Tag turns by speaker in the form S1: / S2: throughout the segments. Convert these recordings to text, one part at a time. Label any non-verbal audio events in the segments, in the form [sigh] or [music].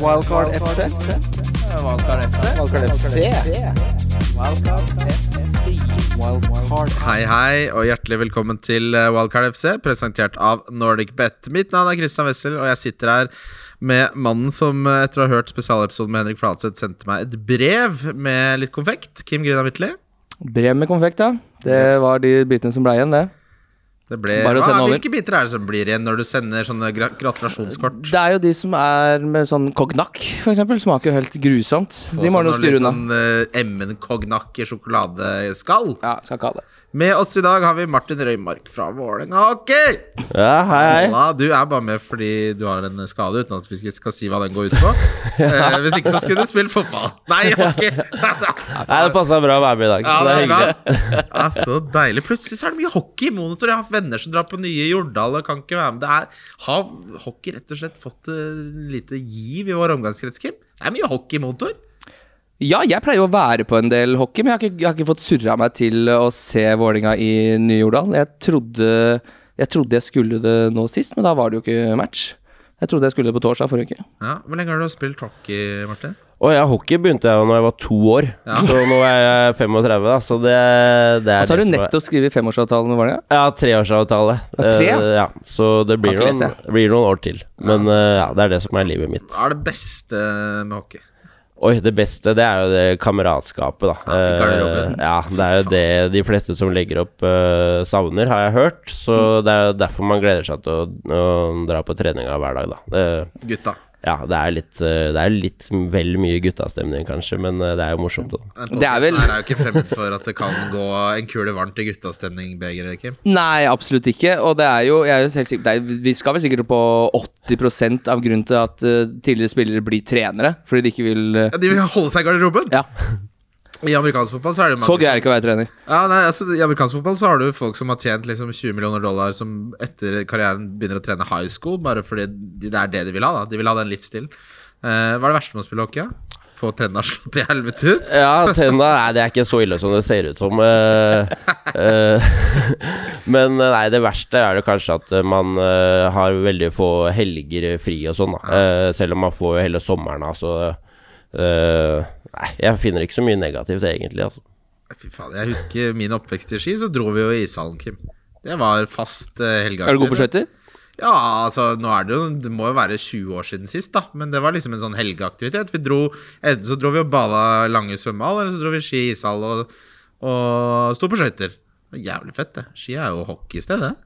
S1: Wildcard FC.
S2: Valgkart FC.
S1: Wildcard FC. Wildcard
S3: Hei, hei, og hjertelig velkommen til eh, Wildcard FC, presentert av Nordic Bet. Mitt navn er Christian Wessel, og jeg sitter her med mannen som eh, etter å ha hørt spesialepisoden med Henrik Fladseth, sendte meg et brev med litt konfekt. Kim Grina Midtli.
S4: Brev med konfekt, ja. Det var de bitene som ble igjen, det.
S3: Det ble,
S4: Bare å
S3: hva,
S4: sende over.
S3: hvilke biter er det som blir igjen når du sender sånne gra gratulasjonskort?
S4: Det er jo de som er med sånn kognakk, for eksempel. Smaker jo helt grusomt. De må
S3: Også
S4: du
S3: noe
S4: styre
S3: litt
S4: unna.
S3: Sånn eh, emmen kognak i sjokoladeskall.
S4: Ja, skal ikke ha det.
S3: Med oss i dag har vi Martin Røymark fra Vålerenga hockey.
S5: Ja, hei, hei.
S3: Ola, du er bare med fordi du har en skade, uten at vi ikke skal si hva den går ut på. eh, hvis ikke så skulle du spille fotball. Nei, hockey!
S5: Nei, det passa bra å være med i dag.
S3: ja,
S5: så
S3: det er bra.
S5: hyggelig.
S3: Ja, så deilig. Plutselig så er det mye hockey i monitor. Jeg har hatt venner som drar på nye Jordal og kan ikke være med. Det er, har hockey rett og slett fått eh, lite giv i vår omgangskrets, Kim? Det er mye hockey i monitor.
S4: Ja, jeg pleier jo å være på en del hockey, men jeg har ikke, jeg har ikke fått surra meg til å se Vålinga i Nye-Jordal. Jeg trodde, jeg trodde jeg skulle det nå sist, men da var det jo ikke match. Jeg trodde jeg skulle det på torsdag forrige uke.
S3: Ja, Hvor lenge har du spilt hockey, Martin?
S5: Og ja, hockey begynte jeg jo når jeg var to år, så nå er jeg 35, da, så det, det er
S4: Og så har
S5: det
S4: du
S5: som er-
S4: nettopp skrevet femårsavtale med Vålinga.
S5: Ja, treårsavtale.
S4: Ja, tre, ja.
S5: Eh, ja. Så det blir
S4: Kan ikke
S5: noen, blir noen år til. Men eh, ja, det er det som er livet mitt.
S3: Hva er det beste med hockey?
S5: Oi, det beste, det er jo det kameratskapet, da.
S3: Ja, i garderoben.
S5: Eh, ja, det er jo det de fleste som legger opp eh, savner, har jeg hørt. Så
S3: Mm.
S5: det er jo derfor man gleder seg til å, å dra på treninga hver dag, da. Det-
S3: Gutta.
S5: ja, det er litt, eh, det er litt vel mye guttastemning, kanskje, men eh, det er jo morsomt. Da.
S3: Den
S4: Det er vel-
S3: podcasten her er jo ikke fremmed for at det kan gå en kule varmt i guttastemning, Beger, Kim.
S4: Nei, absolutt ikke. Og det er jo, jeg er jo helt sikker, det er, Vi skal vel sikkert opp på 80 av grunnen til at eh, tidligere spillere blir trenere, fordi de ikke vil eh,
S3: Ja, de vil holde seg i garderoben.
S4: Ja,
S3: I amerikansk fotball så er det mange
S4: så gøy er det ikke å være trener.
S3: som- Ja, nei, altså, I amerikansk fotball så har du folk som har tjent liksom 20 millioner dollar, som etter karrieren begynner å trene high school, bare fordi de- det er det de vil ha. da De vil ha den livsstilen. Eh, hva er det verste med å spille hockey? da? Få tenna slått i helvete ut?
S5: Ja, tenna Nei, det er ikke så ille som det ser ut som. eh, eh, [laughs] men eh, nei, det verste er det kanskje at eh, man eh, har veldig få helger fri og sånn, da. Eh, selv om man får jo hele sommeren, altså. eh, nei, jeg finner ikke så mye negativt, egentlig. Altså.
S3: Fy faen, Jeg husker min oppvekst i Ski, så dro vi jo i ishallen, Kim. Det var fast eh, helgeaktig.
S4: Er du god på
S3: det.
S4: skøyter?
S3: Ja, altså nå er det jo Det må jo være 20 år siden sist, da. Men det var liksom en sånn helgeaktivitet. Vi dro Enten så dro vi og bada lange svømmehall, eller så dro vi ski i ishall og, og sto på skøyter. Det er Jævlig fett, det. Ski er jo hockey i stedet.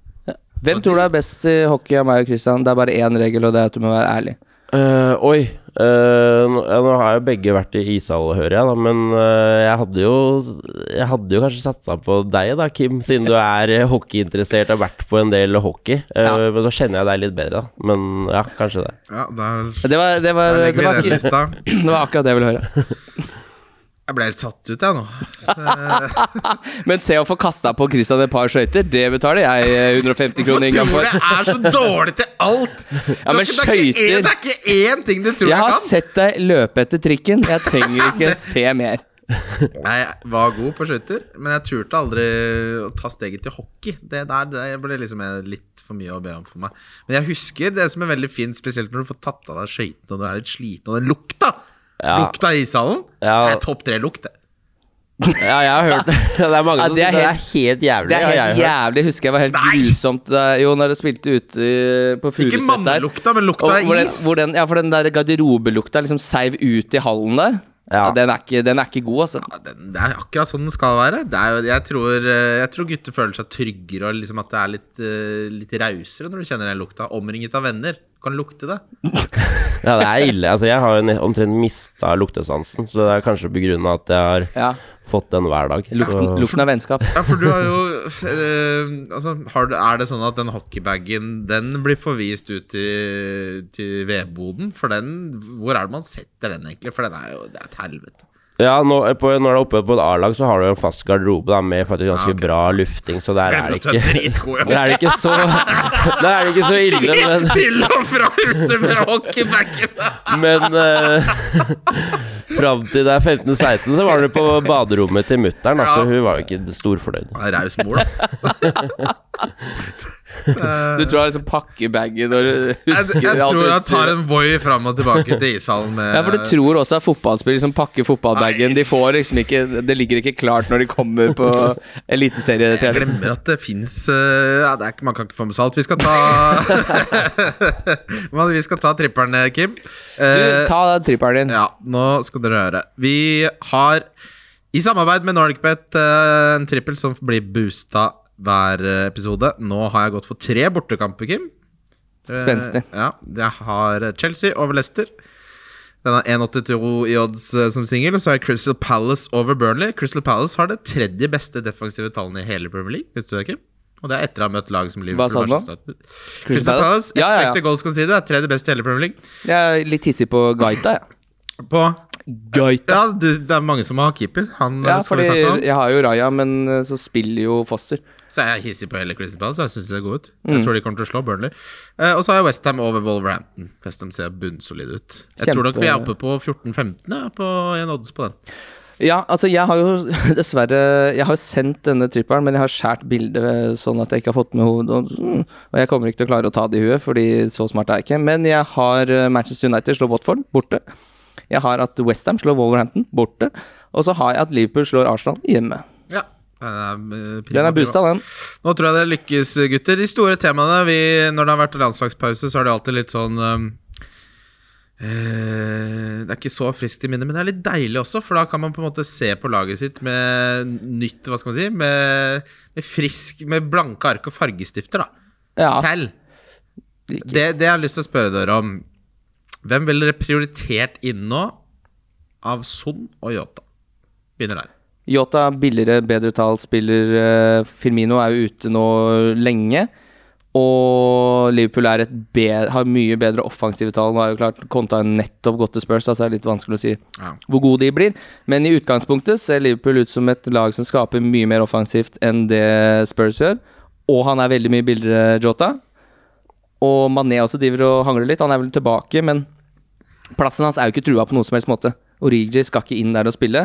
S4: Hvem tror du er best i hockey av meg og Christian? Det er bare én regel, og det er at du må være ærlig.
S5: Eh, oi. eh, nå, ja, nå har jo begge vært i ishall, hører jeg, da, men eh, jeg hadde jo Jeg hadde jo kanskje satsa på deg, da, Kim, siden du er eh, hockeyinteressert og har vært på en del hockey. Eh,
S4: Ja.
S5: Men da kjenner jeg deg litt bedre, da. Men ja, kanskje det.
S3: Ja, der,
S4: Det var, det
S3: der
S4: var, det
S3: legger
S4: var,
S3: vi den
S4: ikke-
S3: lista.
S4: det var akkurat det jeg ville høre.
S3: Jeg ble helt satt ut, jeg nå.
S4: Men se å få kasta på Christian et par skøyter, det betaler jeg eh, 150
S3: Du tror
S4: kroner inngang for.
S3: jeg er så dårlig til alt!
S4: [laughs] Ja, men
S3: det, er ikke, det, er ikke én,
S4: skøyter-
S3: det er ikke én ting du tror
S4: Jeg
S3: jeg,
S4: har
S3: kan.
S4: sett deg løpe etter trikken. Jeg trenger
S3: [laughs]
S4: ikke se mer.
S3: Jeg var god på skøyter, men jeg turte aldri å ta steget til hockey. Det der det ble liksom litt for mye å be om for meg. Men jeg husker det som er veldig fint, spesielt når du får tatt av deg skøytene og du er litt sliten, og den lukta!
S5: Ja.
S3: Lukta i ishallen.
S5: Ja.
S3: Det er topp tre-lukt, det.
S5: [laughs] Ja, jeg har hørt det. Det er mange
S4: Ja,
S5: som
S4: det er
S5: sier det er
S4: helt-
S5: helt jævlig.
S4: Det er
S5: har jeg
S4: helt
S5: hørt.
S4: jævlig. Husker jeg var helt
S3: Nei!
S4: grusomt da, Jo, når jeg spilte ute i- på
S3: Ikke
S4: Furuset der.
S3: mannelukta, men
S4: Og
S3: lukta av
S4: hvor den,
S3: is.
S4: hvor den, ja, for den der garderobelukta liksom seiv ut i hallen der.
S5: Ja.
S4: Ja. den, er ikke, den er ikke god, altså.
S3: Ja, den, det er akkurat sånn den skal være. Det er jo, jeg, tror, eh, jeg tror gutter føler seg tryggere, og liksom at det er litt, eh, litt rausere når du kjenner den lukta. Omringet av venner. Kan lukte det.
S5: Ja, det er ille. Altså, jeg har jo ne- omtrent mista luktesansen, så det er kanskje begrunna at jeg har
S4: Ja.
S5: fått den hver dag.
S4: Lukten,
S5: Så,
S4: lukten av vennskap.
S3: Ja, for du har jo eh, altså, har, du- Er det sånn at den hockeybagen Den blir forvist ut til, til vedboden? For den Hvor er det man setter den, egentlig? For den er jo Det er et helvete.
S5: ja, nå, på, når du er oppe på et A-lag, så har du jo en fast garderobe da, med faktisk ganske
S3: Ja, ok.
S5: bra lufting, så der er
S3: Glemmer
S5: det
S3: at du er
S5: ikke
S3: dritgod i
S5: [laughs] Der er det ikke så Der er det ikke så ille, men
S3: [laughs] Til og fra huset med hockeybagen!
S5: Men eh, [laughs] fram til det er 15-16, så var du på baderommet til mutter'n, altså.
S3: Ja.
S5: Hun var jo ikke storfornøyd.
S3: Han er Raus mor, da.
S4: Du tror han liksom pakker bagen og
S3: Jeg,
S4: husker
S3: jeg
S4: alt
S3: tror han
S4: utstyret.
S3: tar en Voi fram og tilbake til ishallen med
S4: Ja, for du tror også at fotballspillere som pakker fotballbagen De får liksom ikke Det ligger ikke klart når de kommer på
S3: Jeg
S4: eliteserietrening.
S3: glemmer at det fins ja, det er ikke- Man kan ikke få med salt. Vi skal
S5: [laughs]
S3: ta Men [laughs] Vi skal ta tripperen, Kim.
S4: Du,
S3: Eh,
S4: ta den tripperen din.
S3: Ja, nå skal dere høre. Vi har i samarbeid med NordicBet eh, en trippel som blir boosta hver eh, episode. Nå har jeg gått for tre bortekamper, Kim. Eh,
S4: Spenstig.
S3: Ja, jeg har Chelsea over Leicester. Den er 1,82 i odds eh, som singel. Og så har jeg Crystal Palace over Burnley. Crystal Palace har det tredje beste defensive tallene i hele Premier League. Visste du det, Kim? Og det er etter å ha møtt lag som Liverpool.
S4: Hva sa du nå?
S3: Manchester United. Crystal Palace,
S4: Ja, ja,
S3: expected
S4: ja.
S3: goals conceded, er tredje best i hele Premier League.
S4: Jeg er litt hissig på Gaita, jeg.
S3: På
S4: Gaita.
S3: ja, du, det er mange som har keeper. Han
S4: Ja,
S3: eh, skal
S4: fordi
S3: vi snakke om.
S4: jeg har jo Raja, men eh, så spiller jo Foster.
S3: Så jeg er hissig på hele Crystal Palace. Jeg synes de ser gode ut.
S4: Mm.
S3: Jeg tror de kommer til å slå Burnley. Eh, og så har jeg Westham over Wolverhampton. Westham ser bunnsolid ut. Jeg tror nok
S4: Kjempe-
S3: vi er oppe på 14-15 ja, på en odds på den.
S4: Ja, altså jeg har jo [laughs] dessverre Jeg har jo sendt denne trippelen, men jeg har skjært bildet sånn at jeg ikke har fått med hodet. Og, mm, og jeg kommer ikke til å klare å ta det i huet, fordi så smart er jeg ikke. Men jeg har eh, Manchester United slår Watford borte. Jeg har at Westham slår Wolverhampton borte. Og så har jeg at Liverpool slår Arsenal hjemme.
S3: Ja. Den er, eh, prima,
S4: Den er boosta, den.
S3: Nå tror jeg det lykkes, gutter. De store temaene vi, Når det har vært landslagspause, så er det alltid litt sånn um, eh, Det er ikke så friskt i minnet, men det er litt deilig også. For da kan man på en måte se på laget sitt med nytt, hva skal man si, med, med frisk Med blanke ark og fargestifter, da.
S4: Ja,
S3: Tell. Det, det jeg har lyst til å spørre dere om Hvem ville dere prioritert inn nå av Son og Yota? Begynner der.
S4: Yota er billigere, bedre tall, spiller eh, Firmino er jo ute nå lenge. Og Liverpool er et be har mye bedre offensive tall. Nå er jo klart Konta har nettopp gått til Spurs, da, så det er litt vanskelig å si
S3: Ja.
S4: hvor gode de blir. Men i utgangspunktet ser Liverpool ut som et lag som skaper mye mer offensivt enn det Spurs gjør. Og han er veldig mye billigere, Jota. Og Mané også driver og hangler litt. Han er vel tilbake, men plassen hans er jo ikke trua på noen som helst måte. Origi skal ikke inn der og spille.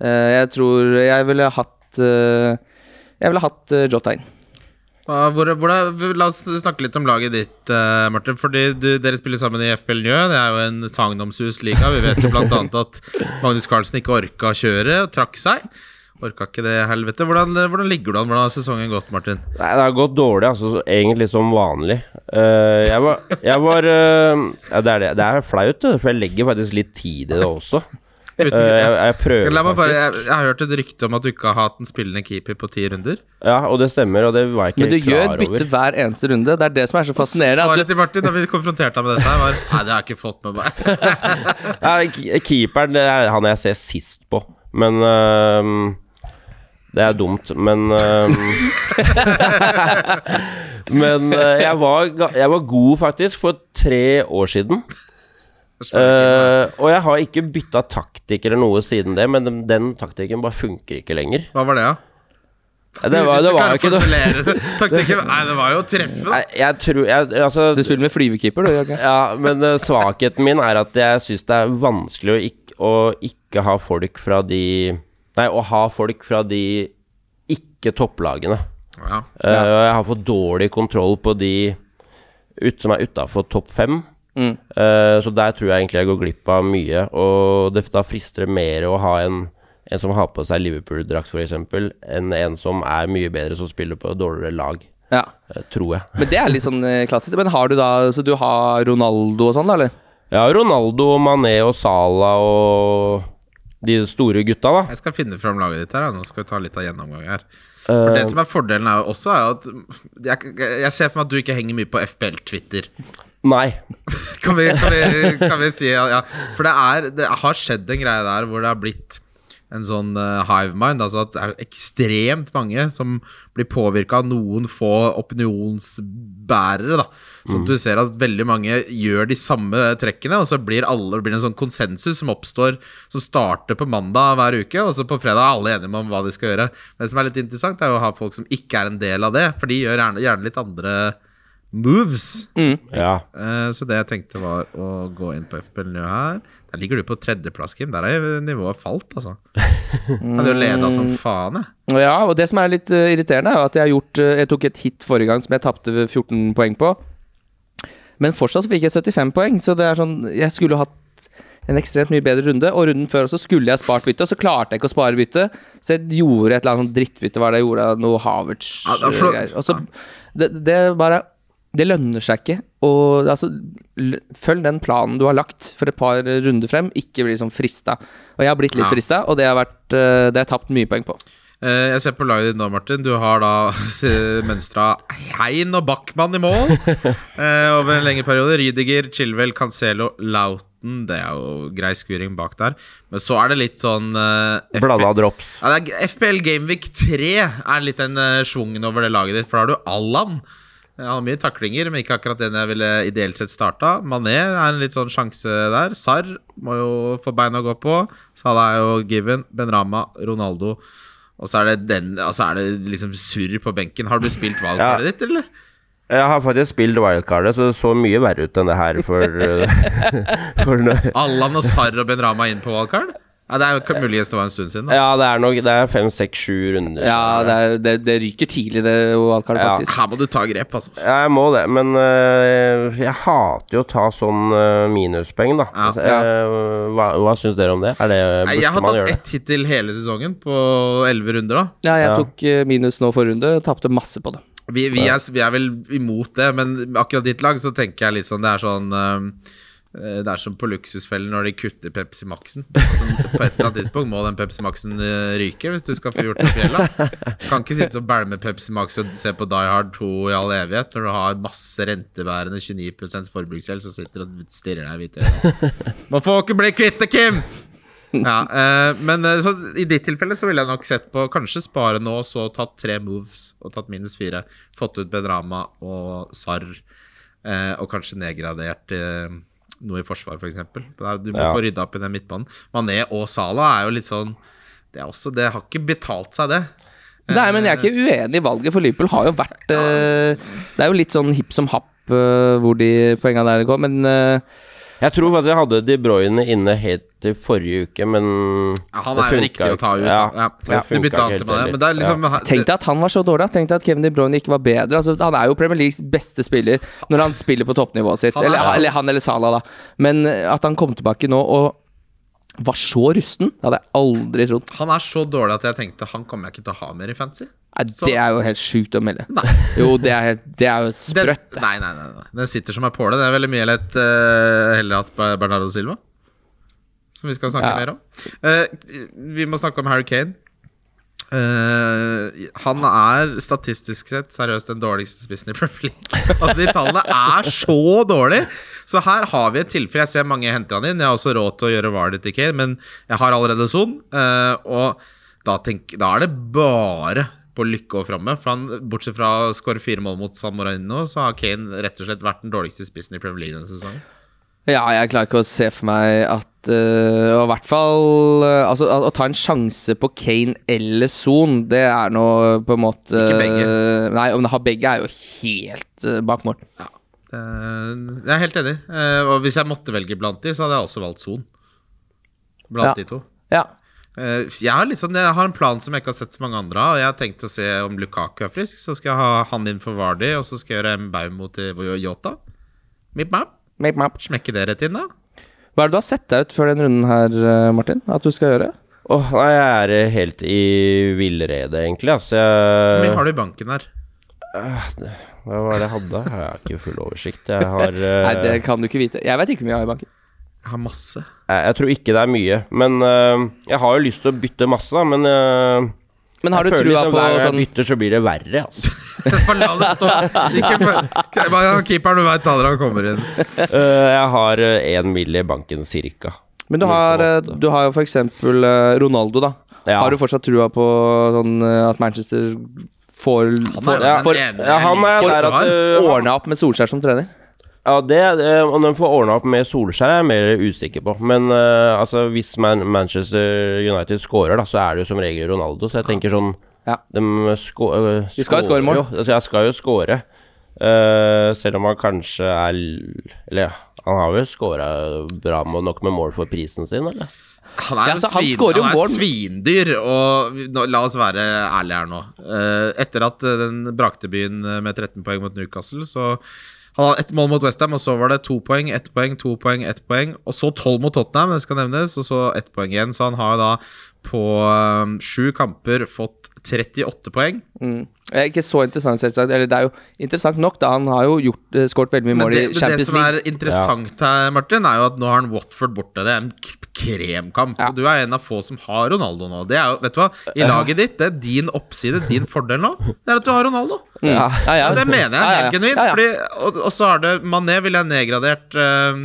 S4: Eh, Jeg tror jeg ville hatt eh, Jeg ville hatt eh, Jota inn.
S3: Hva- Hvor, hvordan- la oss snakke litt om laget ditt, eh, Martin. Fordi du, Dere spiller sammen i FPL Njø. Det er jo en sagnomsusliga. Vi vet jo bl.a. at Magnus Carlsen ikke orka å kjøre, og trakk seg. Orka ikke det, helvete. Hvordan, hvordan ligger du an? Hvordan har sesongen gått, Martin?
S5: Nei, det har gått dårlig, altså. så- Egentlig som vanlig. Eh, jeg var, jeg var eh, ja, det, er det. det er flaut, det, for jeg legger faktisk litt tid i det også.
S3: Uten,
S5: Eh, jeg, jeg prøver
S3: La meg bare,
S5: faktisk.
S3: jeg, jeg har hørt et rykte om at du ikke har hatt en spillende keeper på ti runder.
S5: Ja, og det stemmer, og det var jeg ikke
S4: Men du
S5: helt
S4: gjør
S5: klar
S4: et bytte
S5: over.
S4: hver eneste runde. Det er det som er så fascinerende.
S3: Svaret
S4: At du,
S3: til Martin da vi konfronterte ham med dette, her var Nei, det har jeg ikke fått med meg.
S5: Nei, k- keeperen det er han jeg ser sist på, men ehm, Det er dumt, men ehm, [laughs] Men eh, jeg, var, ga- jeg var god, faktisk, for tre år siden. Eh, og jeg har ikke bytta taktikk eller noe siden det, men den, den taktikken bare funker ikke lenger.
S3: Hva var det, da?
S5: Det var, det var jo ikke noe
S3: Taktikken Nei, det var jo å treffe, da.
S5: Nei, Jeg tror jeg, altså,
S4: du spiller med flyvekeeper, du. Jørgen.
S5: Ja, men eh, svakheten min er at jeg syns det er vanskelig å ikke, å ikke ha folk fra de Nei, å ha folk fra de ikke-topplagene.
S3: Ja.
S5: Eh, og Jeg har for dårlig kontroll på de ut, som er utafor topp fem. Eh, så der tror jeg egentlig jeg går glipp av mye. Og det, da frister det mer å ha en, en som har på seg Liverpool-drakt, f.eks., enn en som er mye bedre, som spiller på dårligere lag.
S4: Ja.
S5: eh, tror jeg.
S4: Men det er litt sånn eh, klassisk. Men har du da Så du har Ronaldo og sånn, da, eller?
S5: Ja, Ronaldo, Mané og Salah og de store gutta, da.
S3: Jeg skal finne fram laget ditt her. da. Nå skal vi ta litt av gjennomgang her. For det som er Fordelen er jo også er jo at jeg, jeg ser for meg at du ikke henger mye på FBL-Twitter.
S5: Nei.
S3: [laughs] Kan, vi- kan, vi- kan vi si ja, ja. For det, er, det har skjedd en greie der hvor det har blitt en sånn eh, hive mind. Altså at det er ekstremt mange som blir påvirka av noen få opinionsbærere. da Så du ser at veldig mange gjør de samme trekkene, og så blir alle det blir en sånn konsensus som oppstår Som starter på mandag hver uke, og så på fredag er alle enige om hva de skal gjøre. Det som er litt interessant, er jo å ha folk som ikke er en del av det, for de gjør gjerne, gjerne litt andre moves.
S5: Ja.
S3: Eh, Så det jeg tenkte var å gå inn på FPL nå her. Der ligger du på tredjeplass, Kim. Der er nivået falt, altså. Hadde jo leda som faen, jeg.
S4: Ja, og det som er litt eh, irriterende, er jo at jeg, har gjort, eh, jeg tok et hit forrige gang som jeg tapte 14 poeng på. Men fortsatt fikk jeg 75 poeng, så det er sånn Jeg skulle jo hatt en ekstremt mye bedre runde, og runden før også skulle jeg spart bytte, og så klarte jeg ikke å spare bytte, så jeg gjorde et eller annet sånn drittbytte, hva er det jeg gjorde, noe
S3: Ja, det er flott.
S4: Havertz-greier. Og så det, det bare Det lønner seg ikke. Og altså, l- følg den planen du har lagt for et par runder frem, ikke bli sånn frista. Og jeg har blitt
S3: Ja.
S4: litt frista, og det har, vært, eh, det har jeg tapt mye poeng på.
S3: Eh, Jeg ser på laget ditt nå, Martin. Du har da mønstra Hein og Bachmann i mål eh, over en lengre periode. Rydiger, Chilwell, Cancelo, Lauten. Det er jo grei skuring bak der. Men så er det litt sånn eh, FPL
S5: Blanda drops.
S3: Ja, det er, FPL Gameweek 3 er litt den eh, schwungen over det laget ditt, for da har du Allan. Han har mye taklinger, men ikke akkurat den jeg ville ideelt sett starta. Mané er en litt sånn sjanse der. Sarr må jo få beina å gå på. Salah er jo given. Benrama, Ronaldo. Og så er det den Altså er det liksom surr på benken. Har du spilt valgkartet ditt, eller?
S5: Jeg har faktisk spilt wildcardet, så det så mye verre ut enn det her for, [laughs] for nå-
S3: Allan og Sarr og Benrama inn på valgkart? Ja, det er jo muligens det var en stund siden. Da.
S5: Ja, det er nok Det er fem, seks, sju runder.
S4: Ja, det, er, det, det ryker tidlig, det wildcardet,
S5: Ja.
S4: faktisk.
S3: Her må du ta grep, altså.
S5: Ja, jeg må det, men øh, jeg hater jo å ta sånn øh, minuspoeng, da.
S3: Ja.
S5: Altså, øh, hva hva syns dere om det? Er det
S3: Nei,
S5: burde
S3: jeg har
S5: man gjøre
S3: tatt
S5: det?
S3: ett hittil hele sesongen på elleve runder, da.
S4: Ja, jeg
S5: Ja.
S4: tok eh, minus nå forrige runde, tapte masse på det.
S3: Vi, vi, er, vi er vel imot det, men akkurat ditt lag så tenker jeg litt sånn Det er sånn eh, Det er som på Luksusfellen når de kutter Pepsi Max-en. Altså, på et eller annet tidspunkt må den Pepsi Max-en eh, ryke hvis du skal få gjort noe i fjellet. Kan ikke sitte og bælme Pepsi Max og se på Die Hard 2 i all evighet når du har masse rentebærende 29 forbruksgjeld som sitter og stirrer deg i hvite øyne. Man får ikke bli kvitt det, Kim! Ja, eh, men eh, så i ditt tilfelle så ville jeg nok sett på kanskje spare nå, så tatt tre moves og tatt minus fire. Fått ut Benrama og Sarr, eh, og kanskje nedgradert eh, noe i forsvar, f.eks. For eksempel. Der- du må
S5: Ja.
S3: få rydda opp i den midtbanen. Mané og Salah er jo litt sånn Det, er også, det har ikke betalt seg, det.
S4: Nei, men jeg er ikke uenig i valget, for Liverpool har jo vært eh, Det er jo litt sånn hipp som happ eh, hvor de poenga der går, men eh,
S5: Jeg tror faktisk jeg hadde De Bruyne inne helt til forrige uke, men
S3: Ja, han
S5: det
S3: er jo
S5: funka
S3: riktig å ta ut.
S5: Ja,
S3: da. Ja.
S5: det
S3: Du
S5: funka
S3: bytta
S5: ikke
S3: han til
S5: helt
S3: Mané,
S5: heller.
S3: men det er liksom
S4: tenk deg at han var så dårlig. da. Tenk deg at Kevin De Bruyne ikke var bedre. Altså, han er jo Premier Leagues beste spiller når han spiller på toppnivået sitt.
S3: Han er-
S4: eller, eller han eller Salah, da. Men eh, at han kom tilbake nå og var så rusten, det hadde jeg aldri trodd.
S3: Han er så dårlig at jeg tenkte han kommer jeg ikke til å ha mer i fantasy.
S4: Nei,
S3: Så-
S4: Det er jo helt sjukt å melde.
S3: Nei.
S4: Jo, det er, helt- det er jo
S3: Den,
S4: sprøtt. det.
S3: nei, nei, nei, nei. Den sitter som ei påle. Det er veldig mye lett eh, heller hatt Ber- Bernardo Silva. Som vi skal snakke
S4: Ja.
S3: mer om. Eh, vi må snakke om Harry Kane. Eh, han er statistisk sett seriøst den dårligste spissen i Premier League. [laughs] Altså, de tallene er så dårlige! Så her har vi et tilfelle. Jeg ser mange henter han inn. Jeg har også råd til å gjøre Vardø til Kane, men jeg har allerede Son. eh, og da, tenk, da er det bare på lykke og framme. For han, bortsett fra å skåre fire mål mot San Marino, så har Kane rett og slett vært den dårligste spissen i Premier League denne sesongen.
S4: Ja, jeg klarer ikke å se for meg at øh, Og i hvert fall øh, Altså, å, å ta en sjanse på Kane eller Son, det er nå på en måte
S3: Ikke begge.
S4: øh, Nei, om det har begge, er jo helt øh, bak mål.
S3: Eh, jeg er helt enig. Eh, og hvis jeg måtte velge blant de, så hadde jeg også valgt Son. Blant
S4: Ja.
S3: de to.
S4: Ja.
S3: Eh, jeg, har litt sånn, jeg har en plan som jeg ikke har sett så mange andre av. og Jeg har tenkt å se om Lukaku er frisk. Så skal jeg ha han inn for Vardy, og så skal jeg gjøre Mbaumo til Yota. Mip map.
S4: Map, map.
S3: Smekke det rett inn, da.
S4: Hva er det du har sett deg ut før den runden her, øh, Martin? At du skal gjøre?
S5: Åh, nei, jeg er eh, helt i villrede, egentlig. Altså,
S3: Hvor
S5: jeg
S3: mye har du i banken her?
S5: Hva var det jeg hadde? Jeg har ikke full oversikt.
S3: [laughs]
S5: Jeg har eh,
S4: Nei, det kan du ikke vite. Jeg veit ikke hvor mye jeg har i banken.
S3: Jeg har masse. [laughs]
S5: jeg, jeg tror ikke det er mye. Men eh, jeg har jo lyst til å bytte masse, da, men eh,
S4: Men har
S5: jeg
S4: du
S5: føler
S4: trua på
S5: liksom hver gang jeg
S4: sånn
S5: bytter, så blir det verre, altså.
S4: [laughs]
S3: Bare la det stå. Ikke for- Bare han keeperen du veit aldri han kommer inn.
S5: Eh, jeg har én mil i banken, cirka.
S4: Men du har, øh, du har jo for eksempel øh, Ronaldo, da.
S5: Ja.
S4: Har du fortsatt trua på sånn øh, at Manchester får, får,
S3: jo den
S4: får
S3: ene
S5: Ja, han er
S3: jeg liker at du
S5: der at
S3: har.
S5: eh, han-
S4: ordna opp med Solskjær som trener?
S5: Ja, det, eh, om de får ordna opp med Solskjær, er jeg mer usikker på. Men eh, altså, hvis Man Manchester United scorer, da, så er det jo som regel Ronaldo. Så jeg tenker sånn
S4: Ja.
S5: De sko eh,
S4: De skal jo score mål.
S5: Jo, altså, jeg skal jo score. Eh, selv om han kanskje er l- Eller ja, han har vel scora bra med- nok med mål for prisen sin, eller?
S3: Han er,
S4: Ja,
S3: jo
S4: altså, han
S3: svin,
S4: scorer jo
S3: han er
S4: mål.
S3: svindyr, og vi- nå, la oss være ærlige her nå. Eh, etter at eh, den brakte byen eh, med 13 poeng mot Newcastle, så han hadde ett mål mot Westham, og så var det to poeng, ett poeng, to poeng, ett poeng, og så tolv mot Tottenham, det skal nevnes, og så ett poeng igjen. Så han har jo da på eh, sju kamper fått 38 poeng.
S4: Mm. Eh, Ikke så interessant, selvsagt. Eller det er jo interessant nok, da. Han har jo gjort, eh, skåret veldig mye
S3: Men
S4: mål
S3: det,
S4: i
S3: men det
S4: Champions
S3: som
S4: League.
S3: er interessant her, Martin, er jo at nå har han Watford borte. Det er en k- kremkamp.
S4: Ja.
S3: Og du er en av få som har Ronaldo nå. Det er jo, vet du hva, I laget ditt, det er din oppside, din fordel nå, det er at du har Ronaldo.
S4: Mm. Ja, ja.
S3: Og det mener jeg
S4: Ja, ja,
S3: helt
S4: ja.
S3: genuint.
S4: Ja, ja.
S3: Fordi, og, og så er det Mané ville jeg nedgradert eh,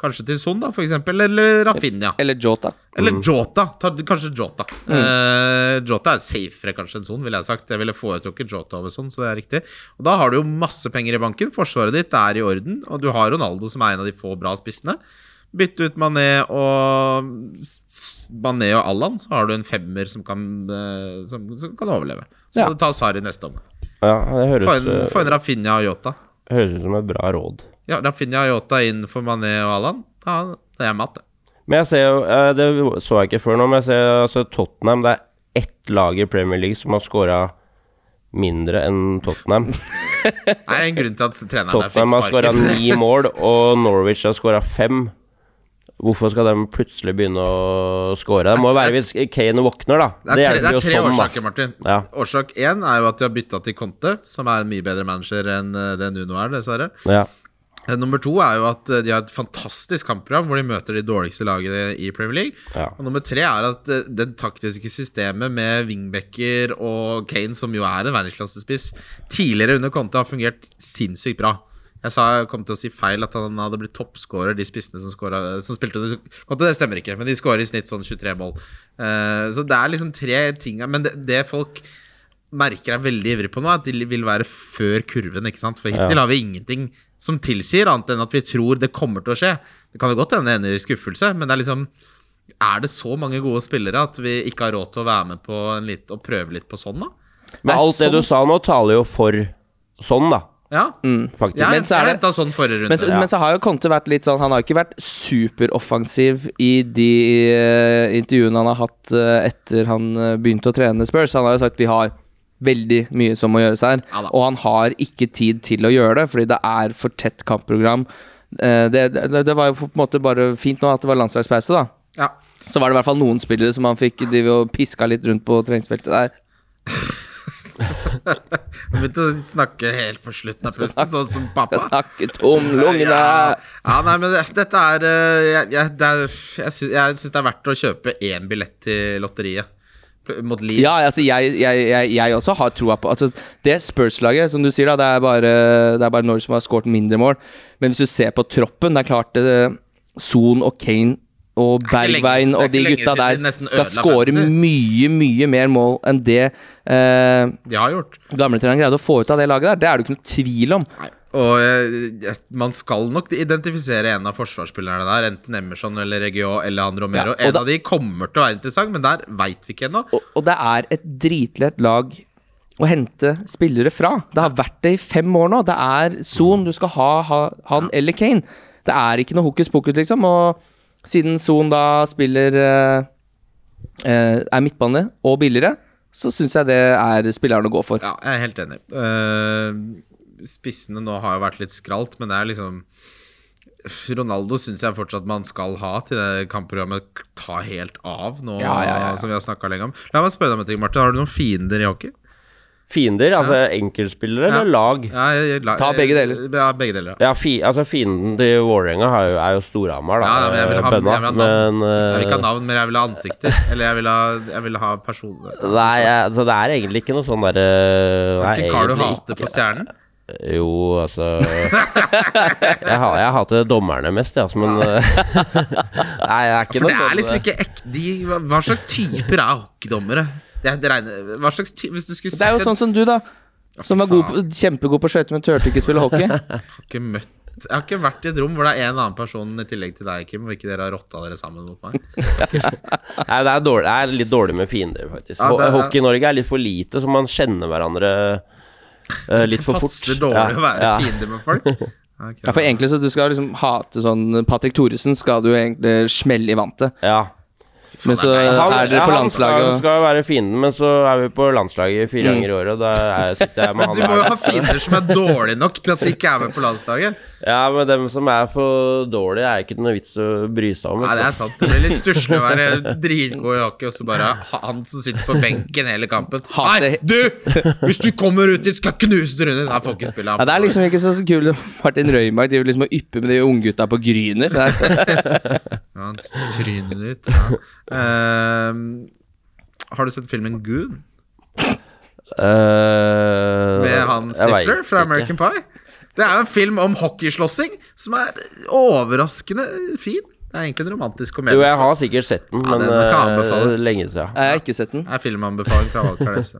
S3: kanskje til Son, da, for eksempel. Eller Rafinha.
S4: Eller Jota.
S3: Eller Jota. Ta, kanskje Jota. Eh, Jota er safere kanskje enn Son, ville jeg sagt. Jeg ville foretrukket Jota over Son, så det er riktig. Og da har du jo masse penger i banken. Forsvaret ditt er i orden, og du har Ronaldo, som er en av de få bra spissene. Bytte ut Mané og Mané og Allan, så har du en femmer som kan, eh, som, som kan overleve. Så
S4: Ja.
S3: må du ta Sarri neste omgang.
S5: Ja, det høres,
S3: Få inn
S5: eh,
S3: få inn Rafinha og Jota.
S5: høres ut som et bra råd.
S3: Ja, Rafinha og Jota inn for Mané og Allan. Da da er jeg matt, det.
S5: Men jeg ser jo eh, Det så jeg ikke før nå, men jeg ser altså Tottenham Det er ett lag i Premier League som har scora mindre enn
S3: [laughs]
S5: Tottenham.
S3: Det er en grunn til at treneren der fikk
S5: Tottenham har skåra
S3: sparken. [laughs]
S5: ni mål, og Norwich har skåra fem. Hvorfor skal de plutselig begynne å skåre? Det må være hvis Kane våkner, da.
S3: Det er tre,
S5: hjelper
S3: det er
S5: jo
S3: tre
S5: sånn, da.
S3: årsaker, Martin.
S5: Ja.
S3: Årsak én er jo at de har bytta til Conte, som er en mye bedre manager enn eh, det Nuno er, dessverre.
S5: Ja.
S3: Eh, Nummer to er jo at eh, de har et fantastisk kampprogram hvor de møter de dårligste lagene i Premier League.
S5: Ja.
S3: Og nummer tre er at eh, det taktiske systemet med wingbacker og Kane, som jo er en verdensklassespiss, tidligere under Conte har fungert sinnssykt bra. Jeg sa jeg kom til å si feil at han hadde blitt toppskårer, de spissene som, scoret- eh, som spilte under Conte. Det stemmer ikke, men de skårer i snitt sånn 23 mål. Eh, så det er liksom tre ting Men det, det folk merker er veldig ivrig på nå, at de vil være før kurven. ikke sant? For hittil har vi ingenting som tilsier annet enn at vi tror det kommer til å skje. Det kan jo godt hende det ender i skuffelse, men det er liksom Er det så mange gode spillere at vi ikke har råd til å være med på en litt, og prøve litt på sånn, da?
S5: Men
S4: Nei,
S5: alt det du
S4: sånn-
S5: sa nå, taler jo for sånn, da.
S3: Ja.
S5: Faktisk.
S3: Jeg,
S4: Mm. Men så er
S3: jeg
S4: det-
S3: henta sånn forrige runde.
S4: Men, men så har jo Conte vært litt sånn Han har ikke vært superoffensiv i de eh, intervjuene han har hatt eh, etter han eh, begynte å trene Spurs. Han har jo sagt vi har veldig mye som må gjøres her,
S3: Ja da.
S4: og han har ikke tid til å gjøre det fordi det er for tett kampprogram. Eh, Det, det, det var jo på en måte bare fint nå at det var landslagspause, da.
S3: ja.
S4: Så var det i hvert fall noen spillere som han fikk drive og piska litt rundt på treningsfeltet der.
S3: Jeg begynte å snakke helt på slutten av pusten, sånn som pappa.
S4: Jeg snakket om lungene!
S3: Ja, ja nei, men det, dette er eh, Jeg, jeg, det er, jeg, sy- jeg syns det er verdt å kjøpe én billett til lotteriet. Pl- Mot Leeds.
S4: Ja, altså jeg, jeg, jeg, jeg også har troa på altså, Det Spurs-laget, som du sier, da det er bare, det er bare Norwich som har skåret mindre mål. Men hvis du ser på troppen Det er klart eh, Son og Kane og
S3: er ikke lenge siden-
S4: Bergwijn
S3: det er
S4: og de
S3: ikke lenge
S4: gutta
S3: siden de
S4: der
S3: nesten
S4: skal
S3: ødela
S4: skåre
S3: fantasy.
S4: mye, mye mer mål enn det eh,
S3: De har gjort.
S4: gamletreneren greide å få ut av det laget der. Det er det ikke noe tvil om.
S3: Nei. Og eh, jeg- man skal nok identifisere en av forsvarsspillerne der, enten Emerson eller Regio eller han Romero.
S4: Ja, og
S3: en
S4: da-
S3: av de kommer til å være interessant, men der veit vi ikke ennå.
S4: og, og det er et dritlett lag å hente spillere fra. Det har vært det i fem år nå. Det er Son. Du skal ha, ha han eller Kane. Det er ikke noe hokus pokus, liksom. Og siden Son da spiller eh, eh, Er midtbane og billigere, så syns jeg det er spilleren å gå for.
S3: Ja, jeg er helt enig. Eh, spissene nå har jo vært litt skralt, men det er liksom Ronaldo syns jeg fortsatt man skal ha til det kampprogrammet ta helt av, nå
S4: Ja, ja, ja, ja.
S3: som vi har snakka lenge om. La meg spørre deg om en ting, Martin. Har du noen fiender i hockey?
S5: Fiender, altså enkeltspillere
S3: Ja.
S5: eller lag?
S3: Ja, jeg, jeg, la-
S4: Ta begge deler.
S3: Ja, begge deler. ja.
S5: Ja, fi, altså Fienden til Vålerenga har jo- er jo Storhamar, da.
S3: Ja, ja, men jeg vil ha-
S5: eh, bønna,
S3: jeg vil ha navn.
S5: men, eh,
S3: Jeg vil ikke ha navn, men jeg vil ha ansikter. Eller jeg vil ha, jeg vil ha personer.
S5: Nei, jeg- altså, det er egentlig ikke noe sånn derre
S3: Er ikke Carl du hater
S5: ikke.
S3: på stjernen? [laughs]
S5: Jo, altså Jeg, ha, jeg hater dommerne mest, jeg, altså, men eh, [laughs] Nei, det er
S3: For
S5: ikke noe
S3: det er
S5: sånn
S3: liksom ikke ek de, hva- Hva slags typer er hockeydommere? Det er, det regner, hva slags ty hvis du skulle
S4: Det er jo
S3: sett-
S4: sånn som du, da. Som var god på, kjempegod på skøyter, men turte ikke spille hockey.
S3: Jeg har ikke møtt Jeg har ikke vært i et rom hvor det er en annen person i tillegg til deg, Kim, og ikke dere har rotta dere sammen mot meg.
S5: Nei, det er, dårlig, det er litt dårlig med fiender, faktisk.
S3: Ja, det er-
S5: Hockey i Norge er litt for lite, så man kjenner hverandre Eh, litt for fort.
S3: Passer dårlig å være fiende med folk. Ok,
S4: Ja, for egentlig så du skal liksom hate sånn Patrick Thoresen skal du egentlig smelle i vantet.
S5: Ja.
S3: faen,
S4: men
S3: det
S4: så-
S3: er meg.
S4: Eh, så er dere på
S5: han
S4: landslaget,
S5: skal,
S4: og- Mm.
S5: skal jo være fienden, men så er vi på landslaget fire ganger i året, og da er, sitter
S3: [laughs]
S5: jeg med
S3: Men
S5: han
S3: du må jo
S5: der.
S3: ha fiender som er dårlige nok til at de ikke er med på landslaget.
S5: Ja, men dem som er for dårlige, er ikke noe vits å bry seg om.
S3: Nei, det er
S5: vet
S3: sant. Det blir litt stusslig å være dritgod i hockey, og så bare ha- han som sitter på benken hele kampen. Nei,
S4: Hater-
S3: du! Hvis du kommer ut, de skal knuse deg under! Nei, får ikke spille ham.
S4: Ja, Det er liksom ikke så kul Martin Røimark driver liksom og ypper med de unggutta på Gryner. Det er-
S3: Ja, trynet ditt. Ja. Ehm, har du sett filmen Goon?
S5: du. Eh,
S3: Med han
S5: jeg
S3: Stifler
S5: vet
S3: fra
S5: ikke.
S3: American Pie? Det er jo en film om hockeyslåssing som er overraskende fin. Det er egentlig en romantisk
S5: Jo,
S3: komedie.
S5: jeg har sikkert sett den,
S3: Ja,
S5: men
S3: den kan
S5: eh,
S3: anbefales.
S5: lenge siden.
S4: Jeg har ikke sett den.
S3: Det er filmanbefaling fra Valkar
S4: [laughs]
S3: Nesse.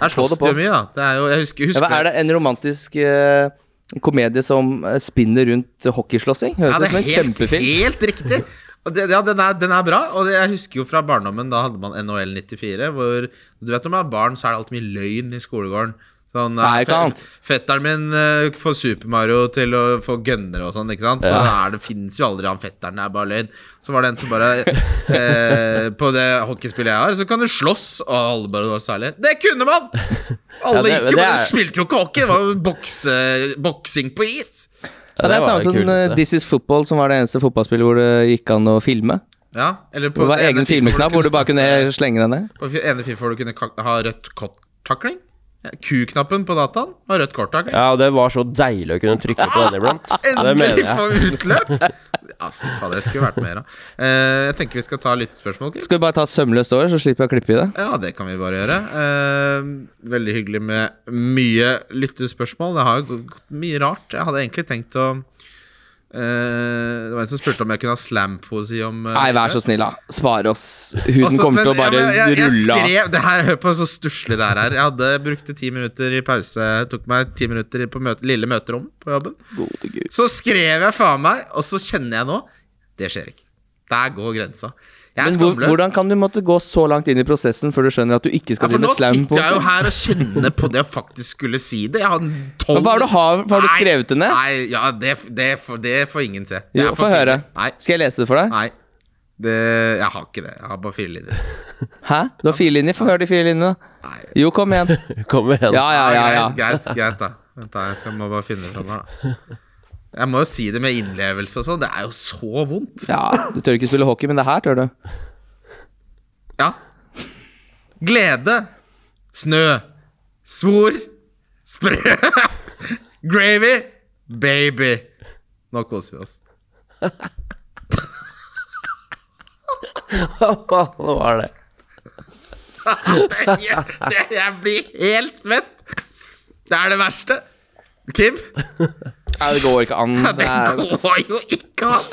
S3: Her
S4: Slå det
S3: slåss det jo
S4: på.
S3: mye, da. Det er jo, jeg husker,
S4: Ja,
S3: husker
S4: hva er det en romantisk eh, komedie som eh, spinner rundt hockeyslåssing?
S3: Ja,
S4: Høres ut
S3: det
S4: som en
S3: er helt,
S4: kjempefilm.
S3: helt riktig. Og det, ja, den er, den er bra. Og det, jeg husker jo fra barndommen, da hadde man NHL 94, hvor Du vet når man er barn, så er det alltid mye løgn i skolegården. Sånn,
S4: Nei,
S3: eh,
S4: ikke sant.
S3: fetteren min eh, får Super Mario til å få gønnere og sånn, ikke sant. Så er det fins jo aldri han fetteren, det er bare løgn. Så var det en som bare eh, På det hockeyspillet jeg har, så kan du slåss, og alle bare var særlig Det kunne man!
S4: [laughs]
S3: Alle
S5: Ja, det-
S3: gikk jo,
S5: det
S3: men
S5: er-
S3: du spilte jo ikke hockey. Det var jo bokse, boksing på is.
S4: Ja, det er
S5: det var
S4: samme
S5: det
S4: som eh,
S5: kuleste.
S4: This Is Football, som var det eneste fotballspillet hvor det gikk an å filme.
S3: Ja, eller på
S4: Det var
S3: det ene
S4: egen
S3: FIFA hvor
S4: filmknapp hvor du bare kunne slenge den ned.
S3: På fi- ene FIFA hvor du kunne ka- ha rødt kort-takling. Ja, Q-knappen på dataen har rødt kort-takling.
S5: Ja, og det var så deilig å kunne trykke på den
S3: [laughs]
S5: iblant. Det mener
S3: Endelig få
S5: jeg.
S3: utløp! Ja, fy fader, det skulle vært mer av. Eh, jeg tenker vi skal ta lyttespørsmål. Kim.
S4: Skal vi bare ta sømløst over, så slipper jeg å klippe i det?
S3: Ja, det kan vi bare gjøre. Eh, veldig hyggelig med mye lyttespørsmål. Det har jo gått- gått mye rart. Jeg hadde egentlig tenkt å eh, Det var en som spurte om jeg kunne ha slampoesi om eh,
S4: Nei, vær så snill, da. Spare oss. Huden
S3: Altså,
S4: kommer til
S3: men-
S4: å bare
S3: ja, men jeg, jeg
S4: rulle av.
S3: skrev, det her, Hør på så stusslig det her er. Jeg hadde brukte ti minutter i pause. Tok meg ti minutter på møte, lille møterom på jobben.
S4: Gode gud.
S3: Så skrev jeg faen meg, og så kjenner jeg nå Det skjer ikke. Der går grensa. Jeg er
S4: Men hvor,
S3: skamløs.
S4: hvordan kan du måtte gå så langt inn i prosessen før du skjønner at du ikke
S3: ja,
S4: skal
S3: for
S4: drive
S3: nå
S4: med slam
S3: sitter
S4: på sånn?
S3: jeg jo
S4: seg?
S3: her og kjenner på det jeg faktisk skulle si det. Jeg har tolv
S4: Men hva har du har- hva har du
S3: Nei,
S4: skrevet det ned?
S3: Nei, ja, det, det, får- det får ingen se. Det
S4: Jo,
S3: er for
S4: Få høre.
S3: pinlig. Nei.
S4: Skal jeg lese det for deg?
S3: nei. Det, jeg har ikke det. Jeg har bare fire linjer.
S4: Hæ? Du har fire linjer? Få høre de fire linjene. da.
S3: Nei.
S4: Jo, kom igjen.
S5: Kom igjen.
S4: Ja, ja, ja. ja.
S3: Greit, greit, greit da. Vent da, jeg skal må bare finne det fram her, da. Jeg må jo si det med innlevelse og sånn. Det er jo så vondt.
S4: ja du tør ikke spille hockey, men det her tør du.
S3: Ja. Glede. Snø. Svor. Sprø. [laughs] Gravy. Baby. Nå koser vi oss.
S5: [laughs] Hva var det?
S3: Det, jeg, det, jeg blir helt svett. Det er det verste. Kim,
S4: Nei, det går ikke
S3: [laughs]
S4: an. Det
S3: det
S4: er...
S3: går jo ikke an.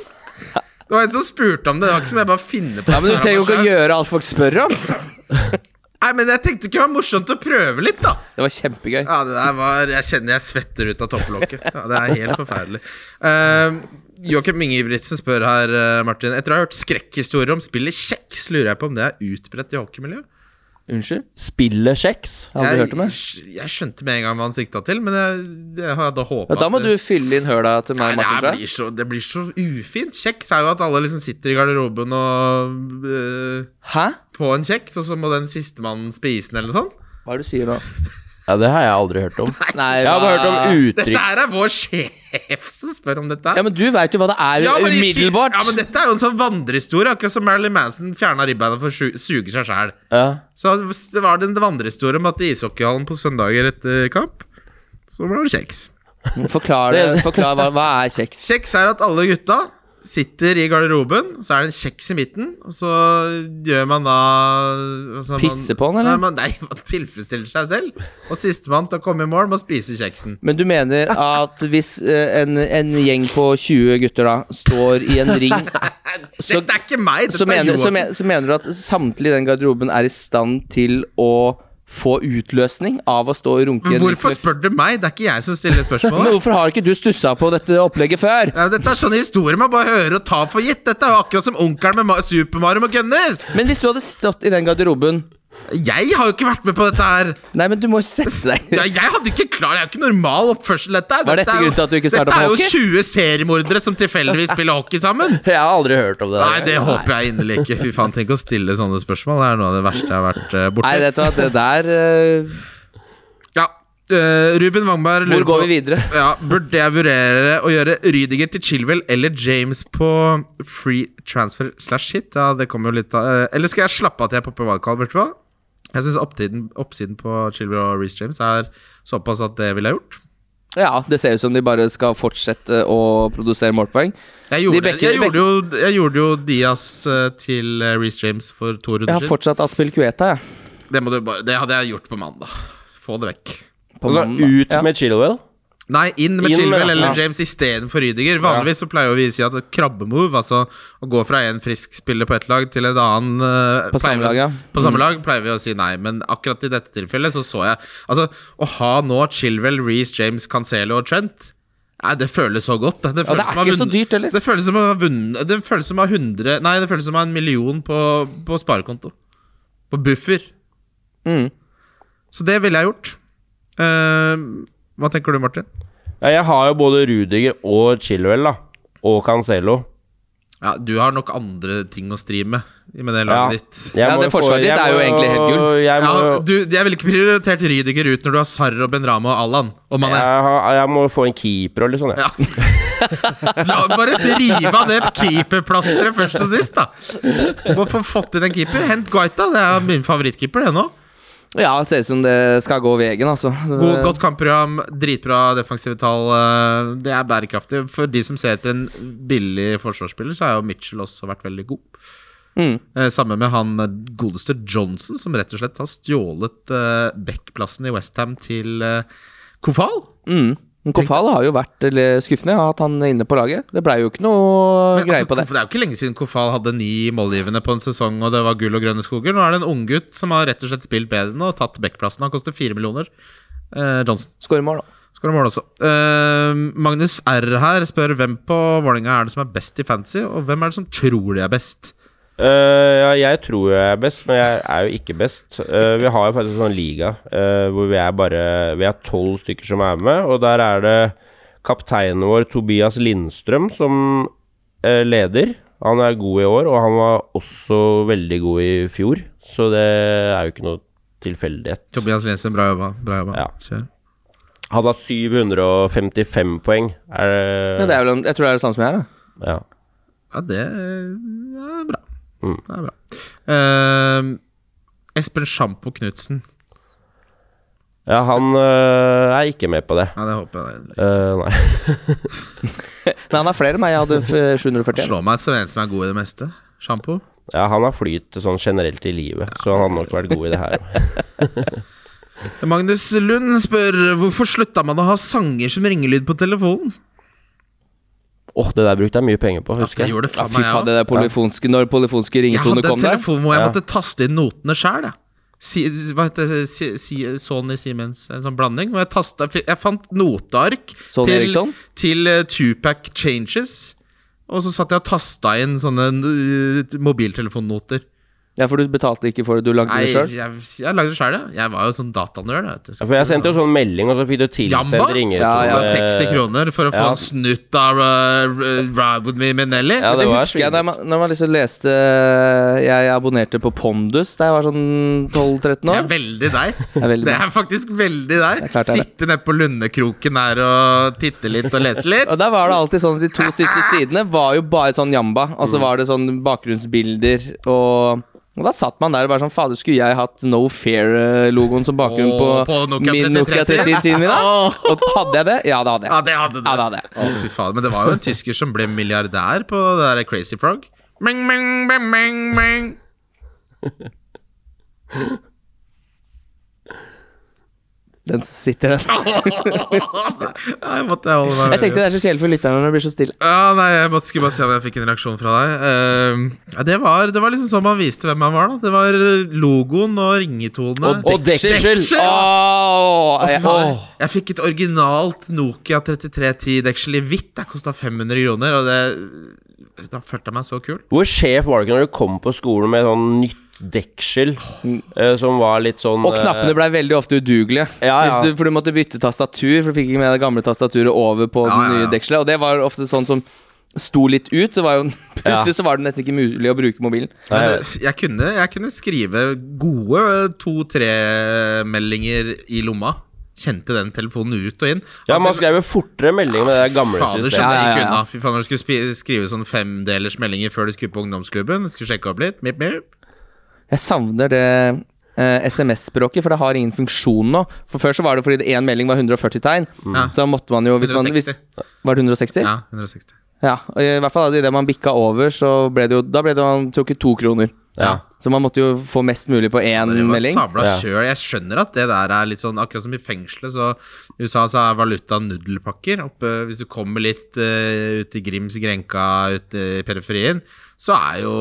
S3: Det var en som spurte om det. Det var ikke som jeg bare finner på
S4: Ja, men Du
S3: det her
S4: trenger
S3: av meg
S4: jo ikke å
S3: selv.
S4: gjøre alt folk spør om.
S3: Nei, men jeg tenkte ikke det var morsomt å prøve litt, da.
S4: Det var kjempegøy.
S3: Ja, det der var Jeg kjenner jeg svetter ut av topplokket. Ja, det er helt forferdelig. Uh, Joakim Ingebrigtsen spør her, eh, Martin. Etter å ha hørt skrekkhistorier om spillet kjeks, lurer jeg på om det er utbredt i hockeymiljøet?
S4: Unnskyld?
S5: Spillet kjeks?
S4: Jeg har aldri hørt om det.
S3: Jeg, jeg skjønte med en gang hva han sikta til, men jeg, jeg hadde håpa
S4: Ja, da må du fylle inn høla til
S3: Nei,
S4: meg,
S3: det,
S4: Martin.
S3: her
S4: tror jeg.
S3: blir så, det blir så ufint. Kjeks er jo at alle liksom sitter i garderoben og eh,
S4: Hæ?
S3: på en kjeks, og så må den sistemann spise den, eller noe sånt.
S4: Hva er det du sier nå?
S5: Ja, det har jeg aldri hørt om.
S3: [laughs]
S4: Nei,
S5: Jeg har bare hørt
S4: hva-
S5: om
S3: Dette
S5: uttrykk.
S3: her er vår sjef som spør om dette. her
S4: Ja, men du veit jo hva det er
S3: men de sier-
S4: umiddelbart.
S3: Ja, men dette er jo en sånn vandrehistorie, akkurat som Marilyn Manson fjerna ribbeina for å su- suge seg sjæl.
S5: Ja.
S3: Så det var det en vandrehistorie om at i ishockeyhallen på søndager etter kamp, så ble det kjeks.
S4: Forklar, det, forklar hva, hva er kjeks?
S3: Kjeks er at alle gutta sitter i garderoben, så er det en kjeks i midten, og så gjør man da altså
S4: Pisser på den,
S3: man-
S4: eller?
S3: Nei, man, nei, man tilfredsstiller seg selv. Og sistemann til å komme i mål må spise kjeksen.
S4: Men du mener at hvis eh, en, en gjeng på 20 gutter da står i en
S3: [laughs]
S4: ring, så,
S3: dette er ikke meg, dette
S4: så,
S3: er
S4: mener, så,
S3: Joakim.
S4: me- så mener du at samtlige i den garderoben er i stand til å få utløsning av å stå og runke i
S3: Men
S4: en ring
S3: hvorfor
S4: med-
S3: spør du meg? Det er ikke jeg som stiller
S4: [laughs]
S3: spørsmål.
S4: Men hvorfor har ikke du stussa på dette opplegget før?
S3: Ja, dette er sånne historier man bare hører og tar for gitt. Dette er jo akkurat som onkelen med Ma- Super Mario med gønner.
S4: Men hvis du hadde stått i den garderoben
S3: Jeg har jo ikke vært med på dette her!
S4: Nei, men du må jo sette deg [laughs]
S3: Ja, jeg hadde ikke klar, det er jo ikke normal oppførsel, dette her.
S4: Var dette
S3: er jo-
S4: grunnen til at du ikke startet
S3: Dette er
S4: med
S3: jo
S4: hockey?
S3: 20 seriemordere som tilfeldigvis spiller hockey sammen!
S5: Jeg har aldri hørt om det. der.
S3: Nei, det håper jeg inderlig ikke. Fy faen, tenk å stille sånne spørsmål. Det er noe av det verste jeg har vært eh, borte
S4: Nei, vet du hva, det der eh,
S3: Ja. eh, Ruben Wangberg
S4: Hvor
S3: lurer
S4: går
S3: på-
S4: vi videre?
S3: Ja, Burde jeg vurdere å gjøre Rydiger til Chilwell eller James på free transfer slash hit? Ja, det kommer jo litt av eh, Eller skal jeg slappe av til jeg popper wildcard, vet du hva? Jeg syns oppsiden, oppsiden på Chilwell og Reece James er såpass at det ville jeg gjort.
S4: Ja, det ser ut som de bare skal fortsette å produsere målpoeng.
S3: Jeg gjorde,
S4: De bekker-
S3: jeg,
S4: de
S3: gjorde jo, jeg gjorde jo Diaz eh, til eh, Reece James for to
S4: Jeg
S3: runder
S4: har
S3: siden.
S4: fortsatt Aspil Kueta, jeg.
S3: Det, må du bare, det hadde jeg gjort på mandag. Få det vekk.
S4: På
S5: Altså,
S4: mannen, da.
S5: ut
S4: Ja.
S5: med Chilwell.
S3: Nei, inn med
S5: Inn,
S3: Chilwell
S5: ja.
S3: eller
S5: Ja.
S3: James istedenfor Rydiger. Vanligvis så pleier jo vi å si at et krabbemove, altså å gå fra en frisk spiller på ett lag til en annen eh,
S4: På
S3: pleier
S4: samme
S3: vi å-
S4: lag, ja. Mm.
S3: På samme lag pleier vi å si nei, men akkurat i dette tilfellet så så jeg Altså, å ha nå Chilwell, Reece, James, Cancelo og Trent Nei, det føles så godt. da. Det
S4: Ja,
S3: føles
S4: det er
S3: som å ha
S4: ikke så
S3: vunnet-
S4: dyrt, heller.
S3: Det føles som å ha vunnet Det føles som å ha 100 Nei, det føles som å ha en million på, på sparekonto. På buffer.
S4: Mm.
S3: Så det ville jeg gjort. Eh, hva tenker du, Martin?
S5: Ja, jeg har jo både Rudiger og Chilwell, da. Og Cancelo.
S3: Ja, du har nok andre ting å stri med i med det
S5: Ja.
S3: laget ditt.
S5: Jeg
S4: Ja,
S5: må
S4: det
S5: jo få-
S4: forsvaret ditt
S5: jeg
S4: er jo
S5: må
S4: egentlig helt gull.
S5: Jeg må,
S3: Ja, du, jeg ville ikke prioritert Rydiger ut når du har Sarr og Benrama og Allan. Og Mané.
S5: jeg, har- jeg må få en keeper og litt sånn, jeg.
S3: Ja. La, bare rive av det keeperplasteret først og sist, da. Må få fått inn en keeper. Hent Guaita. Det er min favorittkeeper, det nå.
S4: Ja, det ser ut som det skal gå veien, altså.
S3: God, godt kampprogram, dritbra defensive tall. eh, Det er bærekraftig. For de som ser etter en billig forsvarsspiller, så har jo Mitchell også vært veldig god.
S4: Mm.
S3: Eh, Samme med han eh, godeste Johnson, som rett og slett har stjålet eh, backplassen i Westham til eh, Kofal.
S4: Mm. Men Kofal har jo vært eller, skuffende, at han er inne på laget. Det blei jo ikke noe
S3: Men
S4: greie
S3: altså,
S4: på det.
S3: Kof- det er jo ikke lenge siden Kofal hadde ni målgivende på en sesong, og det var gull og grønne skoger. Nå er det en unggutt som har rett og slett spilt bedre nå og tatt backplassen. Han koster fire millioner. Eh, Johnson.
S4: Skårer mål, da.
S3: Skal du måle også. Eh, Magnus R her spør hvem på Vålerenga er det som er best i fantasy, og hvem er det som tror de er best?
S5: Øh, ja, jeg tror jeg er best, men jeg er jo ikke best. Øh, vi har jo faktisk en sånn liga øh, hvor vi er bare Vi er tolv stykker som er med, og der er det kapteinen vår Tobias Lindstrøm som øh, leder. Han er god i år, og han var også veldig god i fjor, så det er jo ikke noe tilfeldighet.
S3: Tobias Lindsen, bra jobba. Bra jobba.
S5: Ja.
S3: Kjør.
S5: Han har 755 poeng. Er
S4: Ja, det er vel, jeg tror det er det samme som jeg er, da.
S5: ja.
S3: ja, det er bra.
S5: Mm.
S3: Det er bra. Eh, Espen Sjampo Knutsen.
S5: ja, han øh, er ikke med på det.
S3: Ja, det håper jeg.
S5: Øh, nei.
S4: Men han er flere enn meg. Jeg hadde f- eh, 741.
S3: Slå meg som en som er god i det meste. Sjampo.
S5: Ja, han har flyt sånn generelt i livet, så han hadde nok vært god i det her.
S4: [laughs]
S3: Magnus Lund spør hvorfor slutta man å ha sanger som ringelyd på telefonen?
S5: Åh, det der brukte jeg mye penger på,
S3: Ja,
S5: husker
S3: det
S5: jeg.
S3: gjorde det
S4: Ja,
S3: faen
S4: fy
S3: meg, jeg
S4: faen,
S3: òg.
S4: det der polyfonske Når polyfonske
S3: Jeg
S4: ringetoner
S3: hadde en
S4: kom der.
S3: telefon hvor jeg
S5: Ja.
S3: måtte taste inn notene sjøl, jeg. Si, hva heter det si, si, Sony Siemens, en sånn blanding. Hvor jeg, tasta, jeg fant noteark
S4: Sony
S3: til,
S4: Eriksson?
S3: til eh, Tupac Changes. Og så satt jeg og tasta inn sånne eh, mobiltelefonnoter.
S4: Ja, for du betalte ikke for det, du lagde
S3: Nei,
S4: det
S3: jeg,
S4: sjøl?
S3: jeg, lagde det sjøl, jeg. Jeg var jo sånn datanerd. vet du.
S5: Ja, For jeg sendte jo sånn melding, og så fikk du
S3: Jamba?
S5: tilsendt ringer. sånn, eh,
S4: Ja,
S3: Det
S4: ja.
S3: var 60 kroner for å få
S5: Ja.
S3: en snutt av uh, Ride With Me med Nelly.
S5: Ja,
S4: Det
S5: det var
S4: husker jeg
S5: sjukt.
S4: da man, når man liksom leste Jeg abonnerte på Pondus da jeg var sånn 12-13
S3: Det
S4: år.
S3: er veldig
S4: [laughs]
S3: deg.
S4: er veldig
S3: Det
S4: bra.
S3: er faktisk veldig deg.
S4: er klart det er det.
S3: Sitte nede på Lundekroken her og titte litt og lese litt.
S4: [laughs] Og der var det alltid sånn at De
S3: [laughs]
S4: to siste sidene var jo bare sånn jamba. Og
S3: Mm.
S4: så var det sånn bakgrunnsbilder og og da satt man der og bare sånn Fader, skulle jeg hatt No Fair-logoen som bakgrunn på,
S3: Åh, på Nokia
S4: min
S3: 3310?
S4: Nokia 3310 min?
S3: [laughs]
S4: da?
S3: Åh.
S4: Og hadde jeg det? Ja, det hadde jeg.
S3: Ja, det hadde du.
S4: Ja, det hadde jeg.
S3: Å, fy faen. Men det var jo en tysker som ble milliardær på det der Crazy Frog. Ming, ming, ming, ming, ming.
S4: Den sitter den.
S3: Nei, jeg måtte holde meg
S4: Jeg tenkte det er så kjedelig for lytterne når det blir så stille.
S3: Ja, nei, jeg måtte skulle bare se om jeg fikk en reaksjon fra deg. Eh, ja, det, var, det var liksom sånn man viste hvem man var, da. Det var eh, logoen og ringetonene.
S4: Og
S5: Og
S4: deksel.
S5: deksel!
S3: Deksel!
S4: Åh,
S3: Å, fy
S4: jeg,
S3: faen.
S4: åh.
S3: Jeg fikk et originalt Nokia 3310-deksel i hvitt. Det kosta 500 kroner, og det Da følte jeg meg så kul.
S5: Hvor sjef var du ikke når du kom på skolen med sånn nytt nytt deksel eh, som var litt sånn
S4: Og knappene blei veldig ofte udugelige.
S5: Ja, ja.
S4: Hvis Du, for du måtte bytte tastatur, for du fikk ikke med det gamle tastaturet over på
S3: Ja, ja,
S4: det nye
S3: ja.
S4: dekselet. Og det var ofte sånn som sto litt ut. Så var jo [laughs] plutselig så var det nesten ikke mulig å bruke mobilen.
S5: Nei,
S3: Men
S5: jeg
S3: det, jeg, kunne, jeg kunne skrive gode to-tre meldinger i lomma. Kjente den telefonen ut og inn.
S5: Ja,
S3: At
S5: man
S3: den-
S5: skrev jo fortere melding med det der gamle
S3: Fader,
S5: systemet.
S3: skjønner jeg
S4: Ja, ja,
S3: ikke
S4: ja.
S3: unna. Fy faen, når du skulle spi- skrive sånn femdelers meldinger før du skulle på ungdomsklubben, skulle sjekke opp litt, mip, mip.
S4: Jeg savner det eh, SMS-språket, for det har ingen funksjon nå. For Før så var det fordi det én melding var 140 tegn.
S3: Ja.
S4: Så da måtte man jo hvis man, hvis,
S3: 160.
S4: Var det 160? Ja.
S3: Ja, 160.
S4: og I hvert fall idet man bikka over, så ble det jo Da ble det man trukket to kroner.
S5: Ja.
S4: Så man måtte jo få mest mulig på én
S3: Det var
S4: melding.
S3: sabla
S5: Ja.
S3: kjøl. Jeg skjønner at det der er litt sånn Akkurat som i fengselet, så i USA så er valuta nudelpakker. Oppe, hvis du kommer litt eh, ut i Grims grenka ute i periferien, så er jo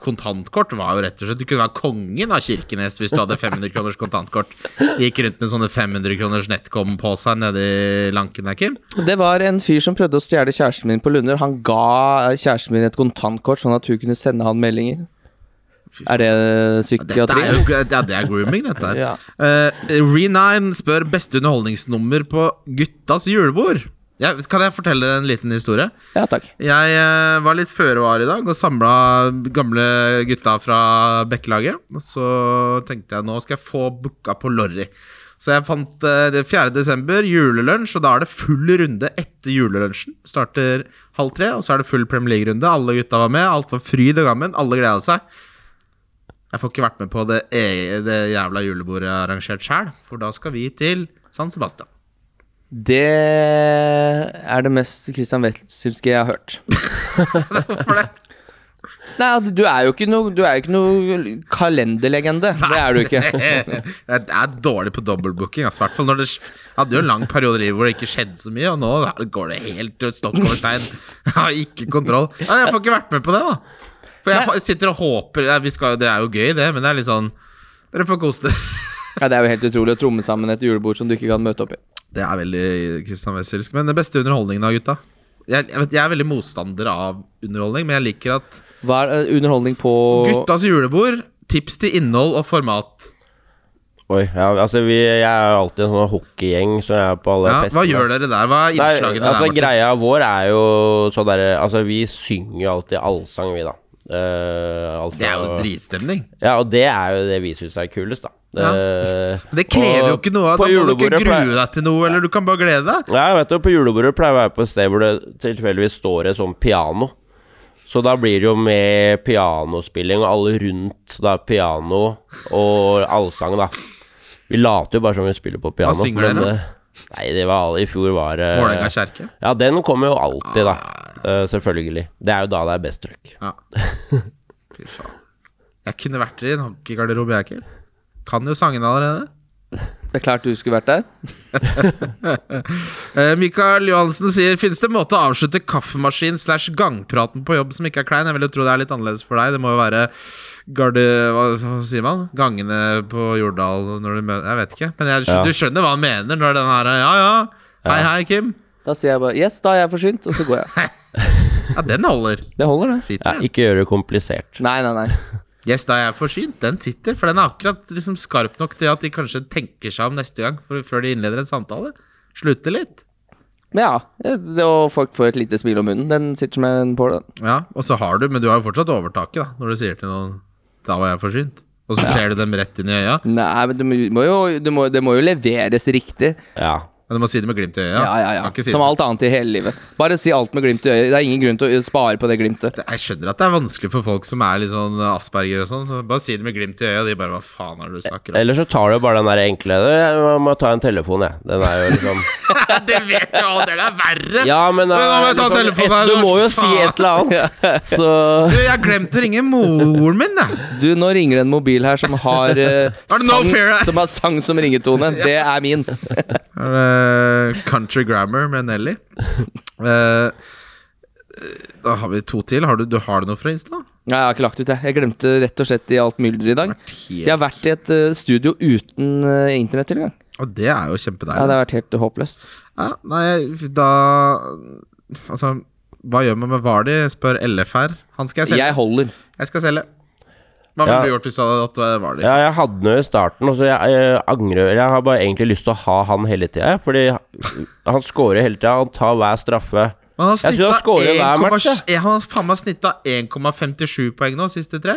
S3: kontantkort var jo rett og slett Du kunne være kongen av Kirkenes hvis du hadde 500 kroners kontantkort. Gikk rundt med sånne 500 kroners nettkom-poser nede i lanken der, Kim.
S4: Det var en fyr som prøvde å stjele kjæresten min på Lunder. Han ga eh, kjæresten min et kontantkort, sånn at hun kunne sende han meldinger. Er det eh,
S3: Dette
S4: psykiatri?
S3: er jo, ja, det er grooming, dette her.
S4: [laughs] Ja.
S3: Eh, Re9 spør beste underholdningsnummer på guttas julebord. Ja, kan jeg fortelle dere en liten historie?
S4: Ja, takk.
S3: Jeg eh, var litt føre var i dag og samla gamle gutta fra Bekkelaget. Og så tenkte jeg nå skal jeg få booka på Lorry. Så jeg fant eh, det 4. desember, julelunsj, og da er det full runde etter julelunsjen. Starter halv tre, og så er det full Premier League-runde. Alle gutta var med, alt var fryd og gammen, alle gleda seg. Jeg får ikke vært med på det, e det jævla julebordet jeg har arrangert sjæl, for da skal vi til San Sebastian.
S4: Det er det mest Christian Wetzelske jeg har hørt.
S3: Hvorfor det?
S4: Nei, at du er jo ikke noe, du er jo ikke noe kalenderlegende. Det er du ikke.
S3: Jeg er dårlig på dobbeltbooking. Altså, hvertfall når det jeg hadde jo en lang periode i livet hvor det ikke skjedde så mye, og nå går det helt stokk over stein. [laughs] Jeg har ikke kontroll. Nei, jeg får ikke vært med på det, da. For jeg fa- sitter og håper ja, vi skal, Det er jo gøy, det, men det er litt sånn Dere får kose dere. [laughs]
S4: Ja, det er jo helt utrolig å tromme sammen et julebord som du ikke kan møte opp i.
S3: Det er veldig Kristian Wesselsk. Men den beste underholdningen da, gutta? Jeg, jeg, vet, jeg er veldig motstander av underholdning, men jeg liker at
S4: Hva er eh, underholdning på
S3: Guttas julebord, tips til innhold og format.
S5: Oi, ja, altså vi, jeg er jo alltid en sånn hockeygjeng som er på alle
S3: Ja, hva
S5: festene.
S3: gjør dere der? Hva er
S5: Nei,
S3: innslagene der?
S5: altså
S3: Martin?
S5: Greia vår er jo sånn derre Altså, vi synger jo alltid allsang, vi, da. Eh, altså,
S3: Det er jo dritstemning.
S5: Ja, og det er jo det vi syns er kulest, da.
S3: Ja.
S5: Eh,
S3: Men Det krever jo
S5: og
S3: ikke noe.
S5: på
S3: Da må du ikke
S5: julebordet
S3: grue
S5: pleier-
S3: deg til noe, eller du kan bare glede deg.
S5: Ja, jeg vet du, på julebordet pleier jeg å være på et sted hvor det tilfeldigvis står et sånt piano. Så da blir det jo med pianospilling og alle rundt da, piano og allsang, da. Vi later jo bare som vi spiller på piano.
S3: synger
S5: men,
S3: dere?
S5: eh, Nei, det var alle i fjor var eh,
S3: Vålerenga kjerke.
S5: Ja, den kommer jo alltid, da. Eh, selvfølgelig. Det er jo da det er best trøkk. [laughs]
S3: Ja. Fy faen. Jeg kunne vært i en hockeygarderobe, jeg, Kim. Kan jo sangene allerede.
S4: Det er klart du skulle vært der.
S3: Eh, Mikael Johansen sier Finnes det en måte å avslutte kaffemaskin slash gangpraten på jobb som ikke er klein? Jeg vil jo tro det er litt annerledes for deg. Det må jo være garde... Hva, hva sier man? Gangene på Jordal når du møter Jeg vet ikke. Men jeg,
S5: Ja.
S3: du skjønner hva han mener når den her Ja, ja. Hei, hei, Kim.
S4: Da sier jeg bare 'yes, da er jeg forsynt', og så går jeg.
S3: Ja, den holder.
S4: Det holder, det.
S5: Ja,
S3: Sitter. den.
S5: ikke gjøre det komplisert.
S4: Nei, nei, nei.
S3: Yes, da er jeg forsynt. Den sitter, for den er akkurat liksom skarp nok til at de kanskje tenker seg om neste gang for, før de innleder en samtale. Slutter litt.
S4: Men ja, det, og folk får et lite smil om munnen. Den sitter som en pål, den.
S3: Ja, og så har du, men du har jo fortsatt overtaket da, når du sier til noen 'da var jeg forsynt', og så ser du dem rett inn i øya.
S4: Nei, men du må jo, du må, det må jo leveres riktig.
S5: Ja.
S3: Men du må si det med glimt i øya.
S4: Ja, ja,
S3: Du
S4: ja.
S3: kan ikke Si det
S4: Som
S3: sånn.
S4: alt annet i hele livet. Bare si alt med glimt i øyet. Det er ingen grunn til å spare på det glimtet.
S3: Jeg skjønner at det er vanskelig for folk som er litt sånn asperger og sånn. Bare si det med glimt i øya, og de bare 'hva faen er det du snakker [laughs] om'?
S5: Eller så tar du bare den der enkle Eh, Jeg må ta en telefon, jeg. Den er jo liksom
S3: [laughs] det vet jo alle, det er verre!
S5: Ja, men,
S3: Men nå må jeg ta
S5: liksom,
S3: telefonen her,
S5: et, Du
S3: nå,
S5: må jo si
S3: faen.
S5: et eller annet. Så
S3: Du, jeg glemte å ringe moren min, jeg.
S4: Du, nå ringer en mobil her som har, eh,
S3: Er det no fear her?
S4: sang, som, har sang som ringetone. Det er min.
S3: Er det Country Grammar med
S5: [laughs]
S3: Nelly. Eh, da har vi to til. Har du, du har du noe fra Insta?
S4: Nei, jeg har ikke lagt ut, jeg. Jeg glemte rett og slett i alt mylderet i dag. Jeg har vært i et eh, studio uten uh, internettilgang.
S3: Og det er jo
S4: Ja, det
S3: kjempedeilig.
S4: har vært helt håpløst.
S3: Ja, nei, da Altså, hva gjør man med Vardi? Spør LF her. Han skal jeg selge.
S4: Jeg holder.
S3: Jeg skal selge. Hva ville
S5: Ja.
S3: du gjort hvis du hadde hatt eh, Vardy?
S5: Ja, jeg hadde den jo i starten, og så jeg, jeg angrer Jeg har bare egentlig lyst til å ha han hele tida, fordi han scorer hele tida. Han tar hver straffe.
S3: Men han
S5: Jeg synes han scorer hver
S3: har
S5: match,
S3: snittet 1,7 Han har faen meg snittet 1,57 poeng nå, siste tre.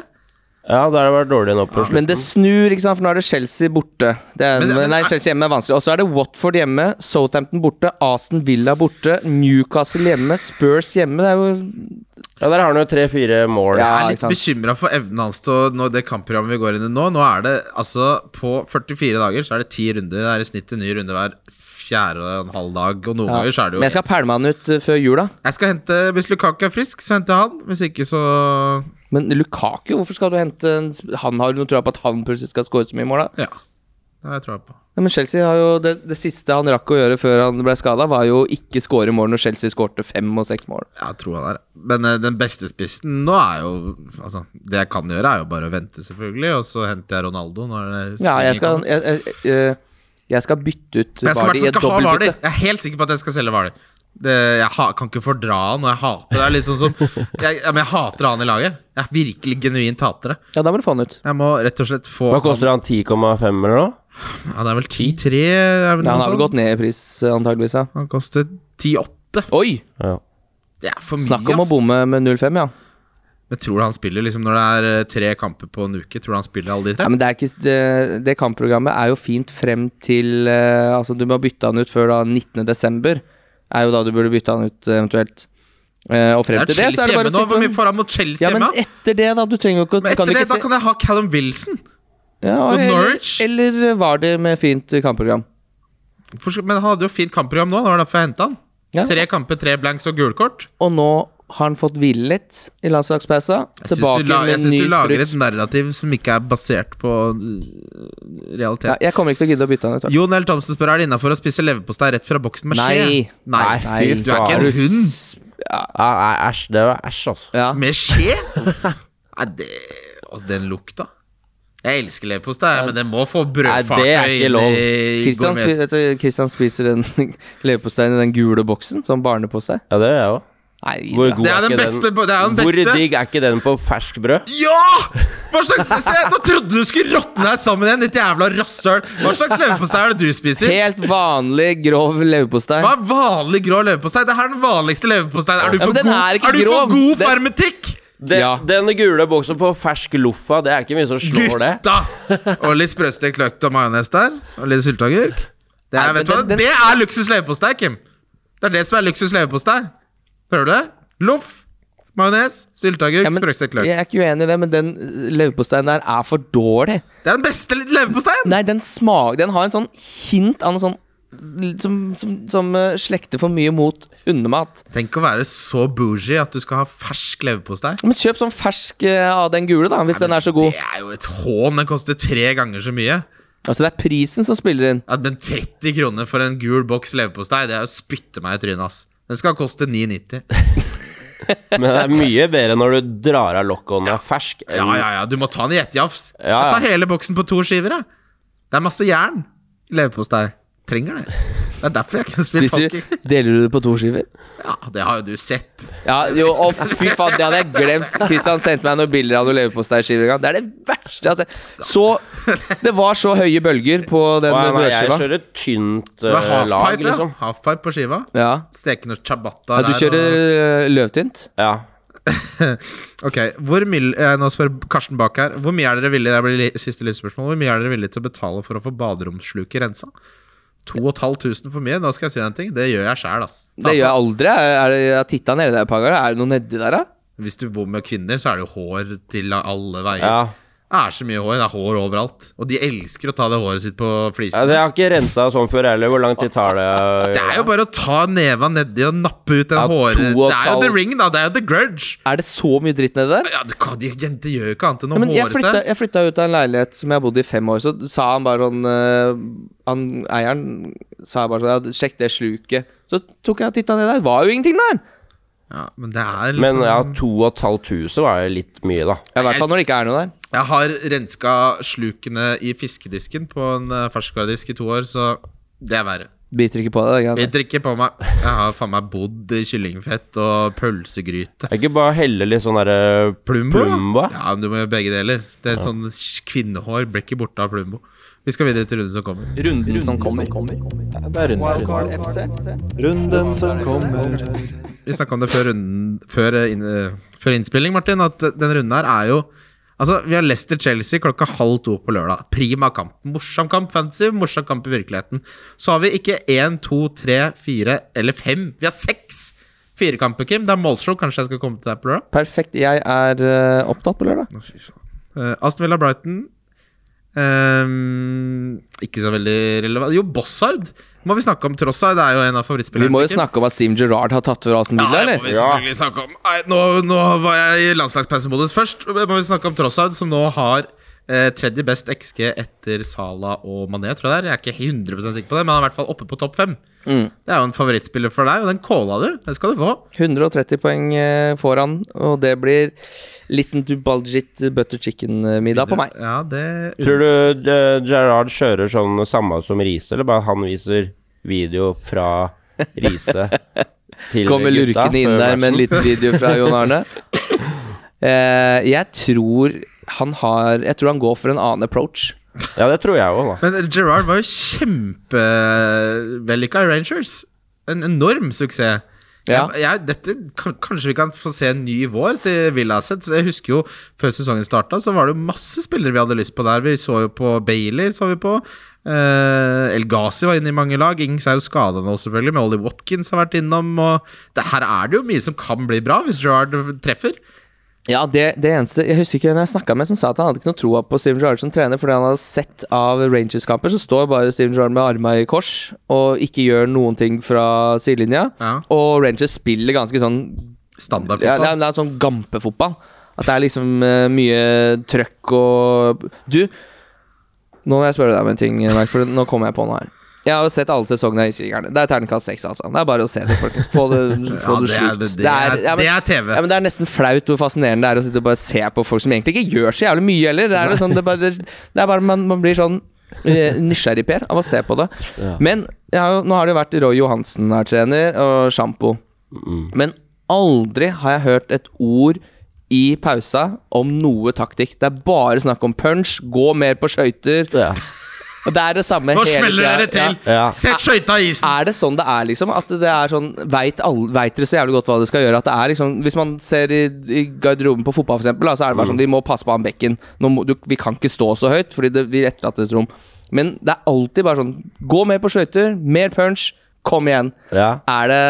S5: Ja, da har det vært dårlig nå på slutten.
S4: Men det snur, ikke sant? for nå er det Chelsea borte. Det er,
S3: Men det- men-
S4: nei, Chelsea hjemme er vanskelig. Og så er det Watford hjemme, Southampton borte, Aston Villa borte, Newcastle hjemme, Spurs hjemme. Det er jo
S5: Ja, der har han jo tre-fire mål.
S4: Ja.
S3: Jeg er litt
S4: ikke
S3: bekymra for evnen hans til å nå det kampprogrammet vi går inn i nå. Nå er det altså På 44 dager så er det ti runder. Det er i snitt en ny runde hver fjerde og en halv dag. Og noen
S4: ja.
S3: ganger så er det jo
S4: Men jeg skal pælme han ut uh, før jul, da.
S3: Jeg skal hente Hvis Lukaku er frisk, så henter jeg han. Hvis ikke, så
S4: Men Lukaku, hvorfor skal du hente en sp- Han har jo noe tro på at han plutselig skal skåre så mye mål, da.
S3: Ja. Det har jeg troa på.
S4: Nei, men Chelsea har jo det, det siste han rakk å gjøre før han ble skada, var jo ikke skåre mål når Chelsea skårte fem og seks mål.
S3: Jeg tror han er Men eh, den beste spissen nå er jo Altså, det jeg kan gjøre, er jo bare å vente, selvfølgelig. Og så henter jeg Ronaldo når det
S4: Ja, jeg
S3: svinger.
S4: skal, jeg, jeg, jeg, jeg skal bytte ut
S3: Men jeg skal i
S4: Vardy i
S3: hvert
S4: et
S3: fall ikke ha Vardy.
S4: dobbeltbytte.
S3: Jeg er helt sikker på at jeg skal selge Vardy. Det, jeg ha, kan ikke fordra han, og jeg hater det. det. er litt sånn som
S4: [laughs]
S3: jeg, ja, Men jeg hater han i laget. Jeg er virkelig genuint hater det.
S4: Ja, da må du få han ut.
S3: Jeg må rett og slett få
S5: Hva koster han? 10,5 eller noe?
S3: Ja, det er vel 10-3? er vel
S4: Ja,
S3: noe
S4: han har vel
S3: sånt.
S4: gått ned i pris, antageligvis, ja.
S3: Han koster 10-8.
S4: Oi!
S5: Ja.
S3: Det er for mye,
S4: Snakk om å
S3: ass.
S4: bomme med 0-5, ja.
S3: Men tror du han spiller liksom når det er eh, tre kamper på en uke? Tror du han spiller alle de
S4: ja
S3: tre?
S4: men det, er ikke, det, det kampprogrammet er jo fint frem til eh, Altså, du må bytte han ut før da 19. desember. Er jo da du burde bytte han ut, eh, eventuelt. Eh, og frem
S3: Det er
S4: til det, så
S3: Chelsea
S4: er det
S3: hjemme
S4: bare å
S3: nå. Hvor mye
S4: sitte
S3: får han mot Chelsea
S4: Ja, men
S3: hjemme? da?
S4: etter det, da. Du trenger jo ikke
S3: Men
S4: kan
S3: etter
S4: du
S3: det,
S4: ikke
S3: da
S4: se-
S3: kan jeg ha Callum Wilson.
S4: Ja,
S3: Mot
S4: eller,
S3: Norwich?
S4: Eller var det med fint kampprogram?
S3: Hvorfor skal- Men han hadde jo fint kampprogram nå. Det var derfor jeg henta han.
S4: Ja.
S3: Tre kamper, tre blanks og gulkort.
S4: Og nå har han fått hvile litt i landslagspausa.
S3: Jeg syns
S4: Tilbake
S3: du, la, jeg
S4: med
S3: syns
S4: ny
S3: du lager
S4: sprut.
S3: et narrativ som ikke er basert på øh,
S4: Ja,
S3: realitet.
S4: jeg kommer ikke til å gidde å bytte han ut. vet du.
S3: Jon L. Thomsen spør er det innafor å spise leverpostei rett fra boksen med skje.
S4: Nei.
S3: Nei,
S5: Nei, fy
S3: Du er ikke
S5: faen.
S3: en hund
S5: Ja, nei, Æsj, det var æsj, altså.
S4: Ja.
S3: med skje! Nei, det Og den lukta. Jeg elsker leverpostei, men den må få
S5: Nei, det er
S3: brødfartøy
S5: ikke lov.
S4: Christian, spi
S3: gourmet-
S4: vet du, Christian spiser [laughs] den leverposteien i den gule boksen som barne på seg.
S5: Ja, det gjør jeg òg.
S4: Nei,
S5: Hvor
S4: da.
S5: god
S3: Det er den
S5: ikke
S3: beste på- det er den
S5: Hvor
S3: beste.
S5: digg er ikke den på fersk brød?
S3: Ja! Hva slags [laughs] se, Nå trodde du skulle råtne deg sammen igjen, ditt jævla rasshøl! Hva slags leverpostei er det du spiser?
S4: Helt vanlig grov leverpostei.
S3: Hva er vanlig grå leverpostei? Det her er den vanligste leverposteien. Er du
S4: Ja,
S3: for
S4: men den
S3: god,
S4: er ikke
S3: er du for
S4: grov.
S3: god
S4: Den-
S3: farmetikk?
S5: Den,
S4: Ja.
S5: den gule boksen på fersk loffa, det er ikke mye som slår det.
S3: Gutta! Og litt sprøstekt løk og majones der. Og litt sylteagurk. Det,
S4: Nei,
S3: er-
S4: men
S3: vet du hva?
S4: den- den-
S3: det er luksus leverpostei, Kim. Det er det som er luksus leverpostei. Hører du det? Loff, majones, sylteagurk,
S4: Ja, men,
S3: sprøstekt løk.
S4: jeg er ikke uenig i det, men den eh, leverposteien der er for dårlig.
S3: Det er den beste leverposteien!
S4: Nei, den smak Den har en sånn hint av noe sånn som, som, som eh, slekter for mye mot hundemat.
S3: Tenk å være så bougie at du skal ha fersk leverpostei.
S4: Men kjøp sånn fersk eh, av den gule, da, hvis den er så god.
S3: Det er jo et hån. Den koster tre ganger så mye.
S4: Altså, det er prisen som spiller inn.
S3: Ja, men 30 kroner for en gul boks leverpostei, det er jo å spytte meg i trynet, ass. Den skal koste 9,90.
S5: Men det er mye bedre når du drar av lokket og den er fersk. enn-
S3: Ja, ja, ja, du må ta den i ett jafs.
S5: Ja,
S3: Jeg
S5: ja.
S3: tar hele boksen på to skiver, jeg. Det er masse jern i leverpostei. Trenger det. Det er derfor jeg kunne spilt
S4: Spiser,
S3: hockey.
S4: deler du det på to skiver?
S3: Ja, det har jo du sett.
S4: Ja,
S5: [laughs]
S4: jo, å fy faen, det hadde jeg glemt. Kristian sendte meg noen bilder av noen leverposteiskiver en gang. Det er det verste jeg har sett. Så Det var så høye bølger på den
S5: Å, ja, nei, jeg
S4: brødskiva.
S5: kjører tynt
S3: Det
S5: eh,
S3: var
S5: lag,
S3: halfpipe, ja.
S5: liksom.
S3: Halfpipe på skiva.
S4: Ja.
S3: Steke noe ciabatta
S4: ja, du kjører
S3: og...
S4: eh, løvtynt?
S5: Ja.
S3: Ok, hvor mye eh, Nå spør Karsten bak her. Hvor mye er dere villige Det blir li- siste lydspørsmål Hvor mige er dere villige til å betale for å få baderomssluket rensa? 2500 for mye? Nå skal jeg si en ting. Det gjør jeg sjæl, ass.
S4: Det gjør jeg aldri. Er, er det, jeg har titta nedi der et par ganger. Er det noe nedi der, da?
S3: Hvis du bor med kvinner, så er det jo hår til alle veier.
S5: ja.
S3: Det er så mye hår. Det er hår overalt. Og de elsker å ta det håret sitt på
S5: Ja,
S3: flisene.
S5: Jeg har ikke rensa sånn før heller. Hvor lang tid tar det? eh,
S3: det er jo bare å ta neva nedi og nappe ut den
S5: Ja,
S3: håret.
S5: to
S3: Det er
S5: og
S3: jo
S5: et
S3: the
S5: halvt.
S3: ring, da. Det er jo the grudge.
S4: Er det så mye dritt nedi der?
S3: Ja, det kan, de jenter gjør jo ikke annet enn å
S4: Ja, men jeg
S3: håre
S4: flytta,
S3: seg.
S4: jeg flytta ut av en leilighet som jeg bodde i fem år, så sa han bare sånn eh, han, Eieren sa bare sånn ja, 'Sjekk det sluket'. Så tok jeg og titta ned der. Det var jo ingenting der!
S3: Ja, men det er liksom
S5: Men ja, 2500 var jo litt mye, da.
S4: Ja, I hvert fall når det ikke er noe der.
S3: Jeg har renska slukene i fiskedisken på en eh, ferskvaredisk i to år, så det er verre.
S4: Biter ikke på det. det er
S3: Jeg
S4: greit.
S3: drikker på meg Jeg har faen meg bodd i kyllingfett og pølsegryte.
S5: Er det ikke bare å helle litt sånn derre
S3: Plumbo?
S5: Plumbo, ja.
S3: Ja, men du må gjøre begge deler. Det er sånn Kvinnehår blir ikke borte av Plumbo. Vi skal videre til runden som kommer.
S4: Runden som kommer.
S1: Det er runden som
S2: Wildcard
S1: kommer.
S2: FC.
S1: Runden som kommer.
S3: Vi snakka om det før, runden, før, eh, inn, eh, før innspilling, Martin, at eh, denne runden her er jo Altså, Vi har Leicester-Chelsea klokka halv to på lørdag. Prima kamp. Morsom kamp fantasy, morsom kamp i virkeligheten. Så har vi ikke én, to, tre, fire eller fem. Vi har seks firekamper, Kim. Det er målshow. Kanskje jeg skal komme til deg på lørdag?
S4: Perfekt. Jeg er eh, opptatt på lørdag.
S3: Å, fy faen. Eh, Aston Villa Brighton. Ehm, ikke så veldig relevant. Jo, Bossard må vi snakke om. Trossard er jo en av favorittspillerne.
S4: Vi må jo
S3: Kim.
S4: snakke om at Steam Gerrard har tatt over Aston Villa,
S3: Ja, det må
S4: eller?
S3: vi selvfølgelig snakke om. Nei, nå, nå var jeg i landslagspausemodus først. Må vi snakke om Trossard, som nå har eh, tredje best XG etter Sala og Mané, tror jeg det er. Jeg er ikke 100 sikker på det, men han er i hvert fall oppe på topp fem. Det er jo en favorittspiller for deg, og den calla du. Den skal du få.
S4: 130 poeng eh, får han, og det blir listen to Baljit butter chicken-middag på meg.
S3: Ja, det
S5: Tror du eh, Gerard kjører sånn samme som Riise, eller bare han viser video fra
S4: [laughs]
S5: Riise til
S4: Kommer
S5: gutta
S4: lurkende inn
S5: før
S4: der med en
S5: matchen?
S4: liten video [laughs] fra Jon Arne. Eh, jeg tror han har Jeg tror han går for en annen approach.
S5: Ja, det tror jeg òg, da.
S3: Men Gerard var jo kjempevellykka i Rangers. En enorm suksess.
S4: Ja.
S3: Jeg, jeg, dette, kan- kanskje vi kan få se en ny vår til Villasets. Jeg husker jo før sesongen starta, så var det jo masse spillere vi hadde lyst på der. Vi så jo på Bailey, så vi på. Eh, El Ghazi var inne i mange lag. Ings er jo skada nå, selvfølgelig, men Ollie Watkins har vært innom. Og det, her er det jo mye som kan bli bra, hvis Gerard treffer.
S4: Ja, det, det eneste Jeg husker ikke hvem jeg snakka med som sa at han hadde ikke noe troa på Steven Gerrard som trener, fordi han hadde sett av Rangers-kamper, så står bare Steven Gerrard med arma i kors og ikke gjør noen ting fra sidelinja.
S3: Ja.
S4: Og Rangers spiller ganske sånn ja, det, er,
S3: Standardfotball.
S4: det er sånn gampefotball. At det er liksom eh, mye trøkk og Du, nå må jeg spørre deg om en ting, Max, for nå kommer jeg på noe her. Jeg har jo sett alle sesongene av Iskrigerne. Det er terningkast seks, altså. Det er bare å se det, folkens. Få det,
S3: [laughs]
S4: få
S3: Ja,
S4: det
S3: det er-
S4: slutt.
S3: det er-
S4: ja, men-
S3: det er TV.
S4: Ja, men det er nesten flaut hvor fascinerende det er å sitte og bare se på folk som egentlig ikke gjør så jævlig mye heller. Det er, jo sånn, det er bare, det er bare man, man blir sånn eh, nysgjerrig, Per, av å se på det. Men jeg har jo, nå har det jo vært Roy Johansen er trener, og Sjampo. Men aldri har jeg hørt et ord i pausa om noe taktikk. Det er bare snakk om punch, gå mer på skøyter.
S5: Ja.
S4: Og det er det samme
S3: Nå
S4: hele
S3: smeller
S4: tida.
S3: dere til!
S4: Ja.
S5: Ja.
S3: Sett skøyta i isen!
S4: Er det sånn det er, liksom? At det er sånn Veit dere så jævlig godt hva dere skal gjøre? At det er liksom Hvis man ser i, i garderoben på fotball, for eksempel, da, så er det
S3: Mm.
S4: bare sånn Vi må passe på han bekken. Nå må, du, vi kan ikke stå så høyt, fordi det, vi etterlater et rom. Men det er alltid bare sånn Gå mer på skøyter, mer punch, kom igjen.
S5: Ja.
S4: Er det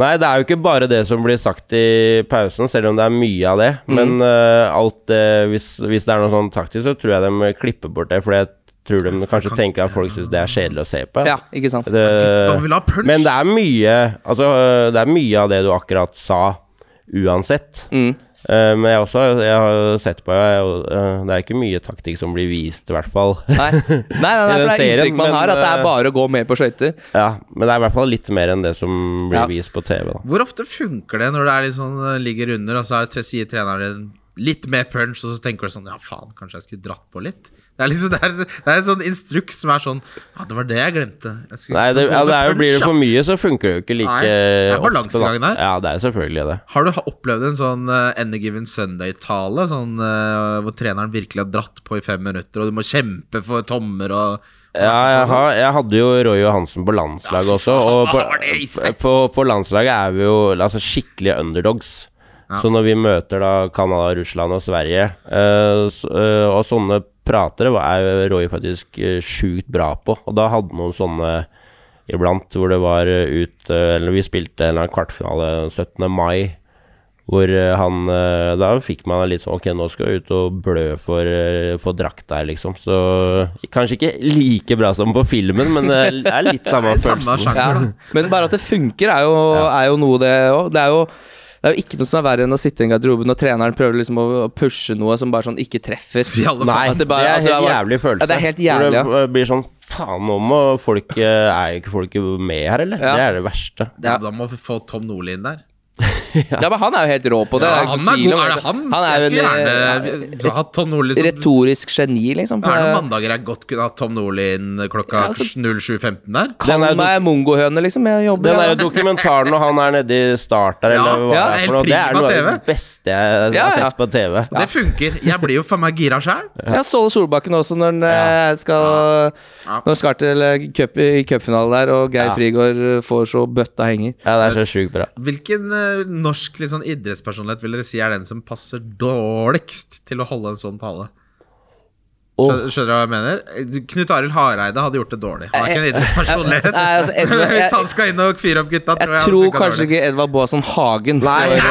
S5: Nei, det er jo ikke bare det som blir sagt i pausen, selv om det er mye av det.
S4: Mm.
S5: Men eh, alt det hvis, hvis det er noe sånn taktisk, så tror jeg de klipper bort det. For jeg tror de kanskje tenker at folk syns det er kjedelig å se på. Eh,
S4: Ja, ikke sant?
S5: Det,
S3: Gutta vil ha punch!
S5: men det er mye Altså, øh, det er mye av det du akkurat sa, uansett.
S3: Mm.
S5: Eh, men jeg, har også, jeg har sett på jeg, øh, Det er ikke mye taktikk som blir vist, i hvert fall.
S4: Nei, nei, nei, nei
S5: I den
S4: for det er
S5: serien,
S4: inntrykk man
S5: men,
S4: har, at det
S5: eh,
S4: er bare å gå mer på skøyter.
S5: [laughs] ja, men det er i hvert fall litt mer enn det som blir
S4: Ja.
S5: vist på TV. Da.
S3: Hvor ofte funker det når det er litt sånn, eh, ligger under, og så er det, sier treneren din litt mer punch, og så tenker du sånn Ja, faen, kanskje jeg skulle dratt på litt? Det er liksom, det er, det er en sånn instruks som er sånn Ja, det var det jeg glemte. Jeg skulle
S5: Nei,
S3: ikke
S5: det,
S3: gå
S5: ja,
S3: med
S5: det er, jo-
S3: punch,
S5: blir det
S3: ja.»
S5: for mye, så funker det jo ikke like
S3: Nei, det er
S5: ofte, da.
S3: balansegangen her.
S5: Ja, det er selvfølgelig det.
S3: Har du ha- opplevd en sånn eh, Any Given Sunday-tale, sånn eh, hvor treneren virkelig har dratt på i fem minutter, og du må kjempe for tommer og
S5: Ja, jeg, har, jeg hadde jo Roy Johansen på landslaget også,
S3: sånn? faen,
S5: og
S3: hva
S5: på,
S3: har det i seg?
S5: på, på landslaget er vi jo altså, skikkelige underdogs.
S3: Ja.
S5: Så når vi møter da Canada, Russland og Sverige, eh, s- eh, og sånne pratere var- er jo Roy faktisk eh, sjukt bra på. Og da hadde noen sånne iblant hvor det var eh, ut eh, Eller vi spilte en eller annen kvartfinale 17. mai. Hvor eh, han eh, Da fikk man litt sånn Ok, nå skal jeg ut og blø for, eh, for drakta her, liksom. Så kanskje ikke like bra som på filmen, men eh, det er litt
S4: [laughs]
S5: samme
S3: Litt samme
S5: følelsen.
S3: sjanger, da.
S4: Men bare at det funker, er jo, er jo noe, det òg. Det er jo det er jo ikke noe som er verre enn å sitte i en garderobe når treneren prøver liksom å å pushe noe som bare sånn ikke treffer.
S3: Så i alle fall-
S5: Nei,
S4: At
S5: det,
S4: bare-
S5: er
S4: at det
S5: helt
S4: bare-
S5: jævlig følelse.
S4: Ja, det er helt
S5: Hvor
S4: jævlig, ja.
S5: Det eh, blir sånn Faen, nå må folk eh, Er ikke folk med her, eller?
S4: Ja.
S5: Det er det verste.
S3: Det er- Da må vi få Tom Nordli inn der.
S4: Ja, men han er jo helt rå på det.
S3: Ja,
S4: det ikke
S3: han
S4: noe
S3: er
S4: tvil
S3: god.
S4: om
S3: Er
S4: det.
S3: det han?
S4: Han er
S3: jeg
S4: jo
S3: skulle
S4: en,
S3: gjerne hatt Tom Nordli
S4: eh,
S3: som
S4: retorisk geni, liksom.
S3: Er det noen mandager jeg godt kunne hatt Tom Nordli inn klokka
S4: Ja, altså-
S3: 07.15 der?
S4: Kall
S5: Den er jo
S4: meg mongohøne, liksom. Jeg jobber
S5: Den
S4: ja.
S5: der dokumentaren når han er nede i start der,
S3: Ja,
S5: eller hva
S3: ja,
S5: det er
S3: helt
S5: for noe, det er
S3: prima
S5: noe av det
S3: TV.
S5: beste
S4: Ja,
S5: jeg har
S4: ja.
S5: sett på TV.
S3: Det funker. Jeg blir jo faen meg gira sjæl.
S4: Ja, Ståle Solbakken også, når han eh, skal
S3: Ja.
S4: Når han skal til eh, cup, i cupfinalen der, og Geir
S5: Ja.
S4: Frigård eh, får så bøtta
S3: [laughs]
S4: henger.
S5: Ja, det er så sjukt bra.
S3: Hvilken eh, norsk litt sånn idrettspersonlighet vil dere si er den som passer dårligst til å holde en sånn tale?
S5: Åh.
S3: Skjø- Skjønner du hva jeg mener? Eh, Knut Arild Hareide hadde gjort det dårlig. Han er ikke en idrettspersonlighet.
S4: Nei, altså, Edvard, Eh, [laughs]
S3: [laughs]
S4: jeg-
S3: Hvis han skal inn og fyre opp gutta, tror
S4: Jeg
S3: jeg
S4: tror kanskje ikke Edvard Boasson Hagen får eh,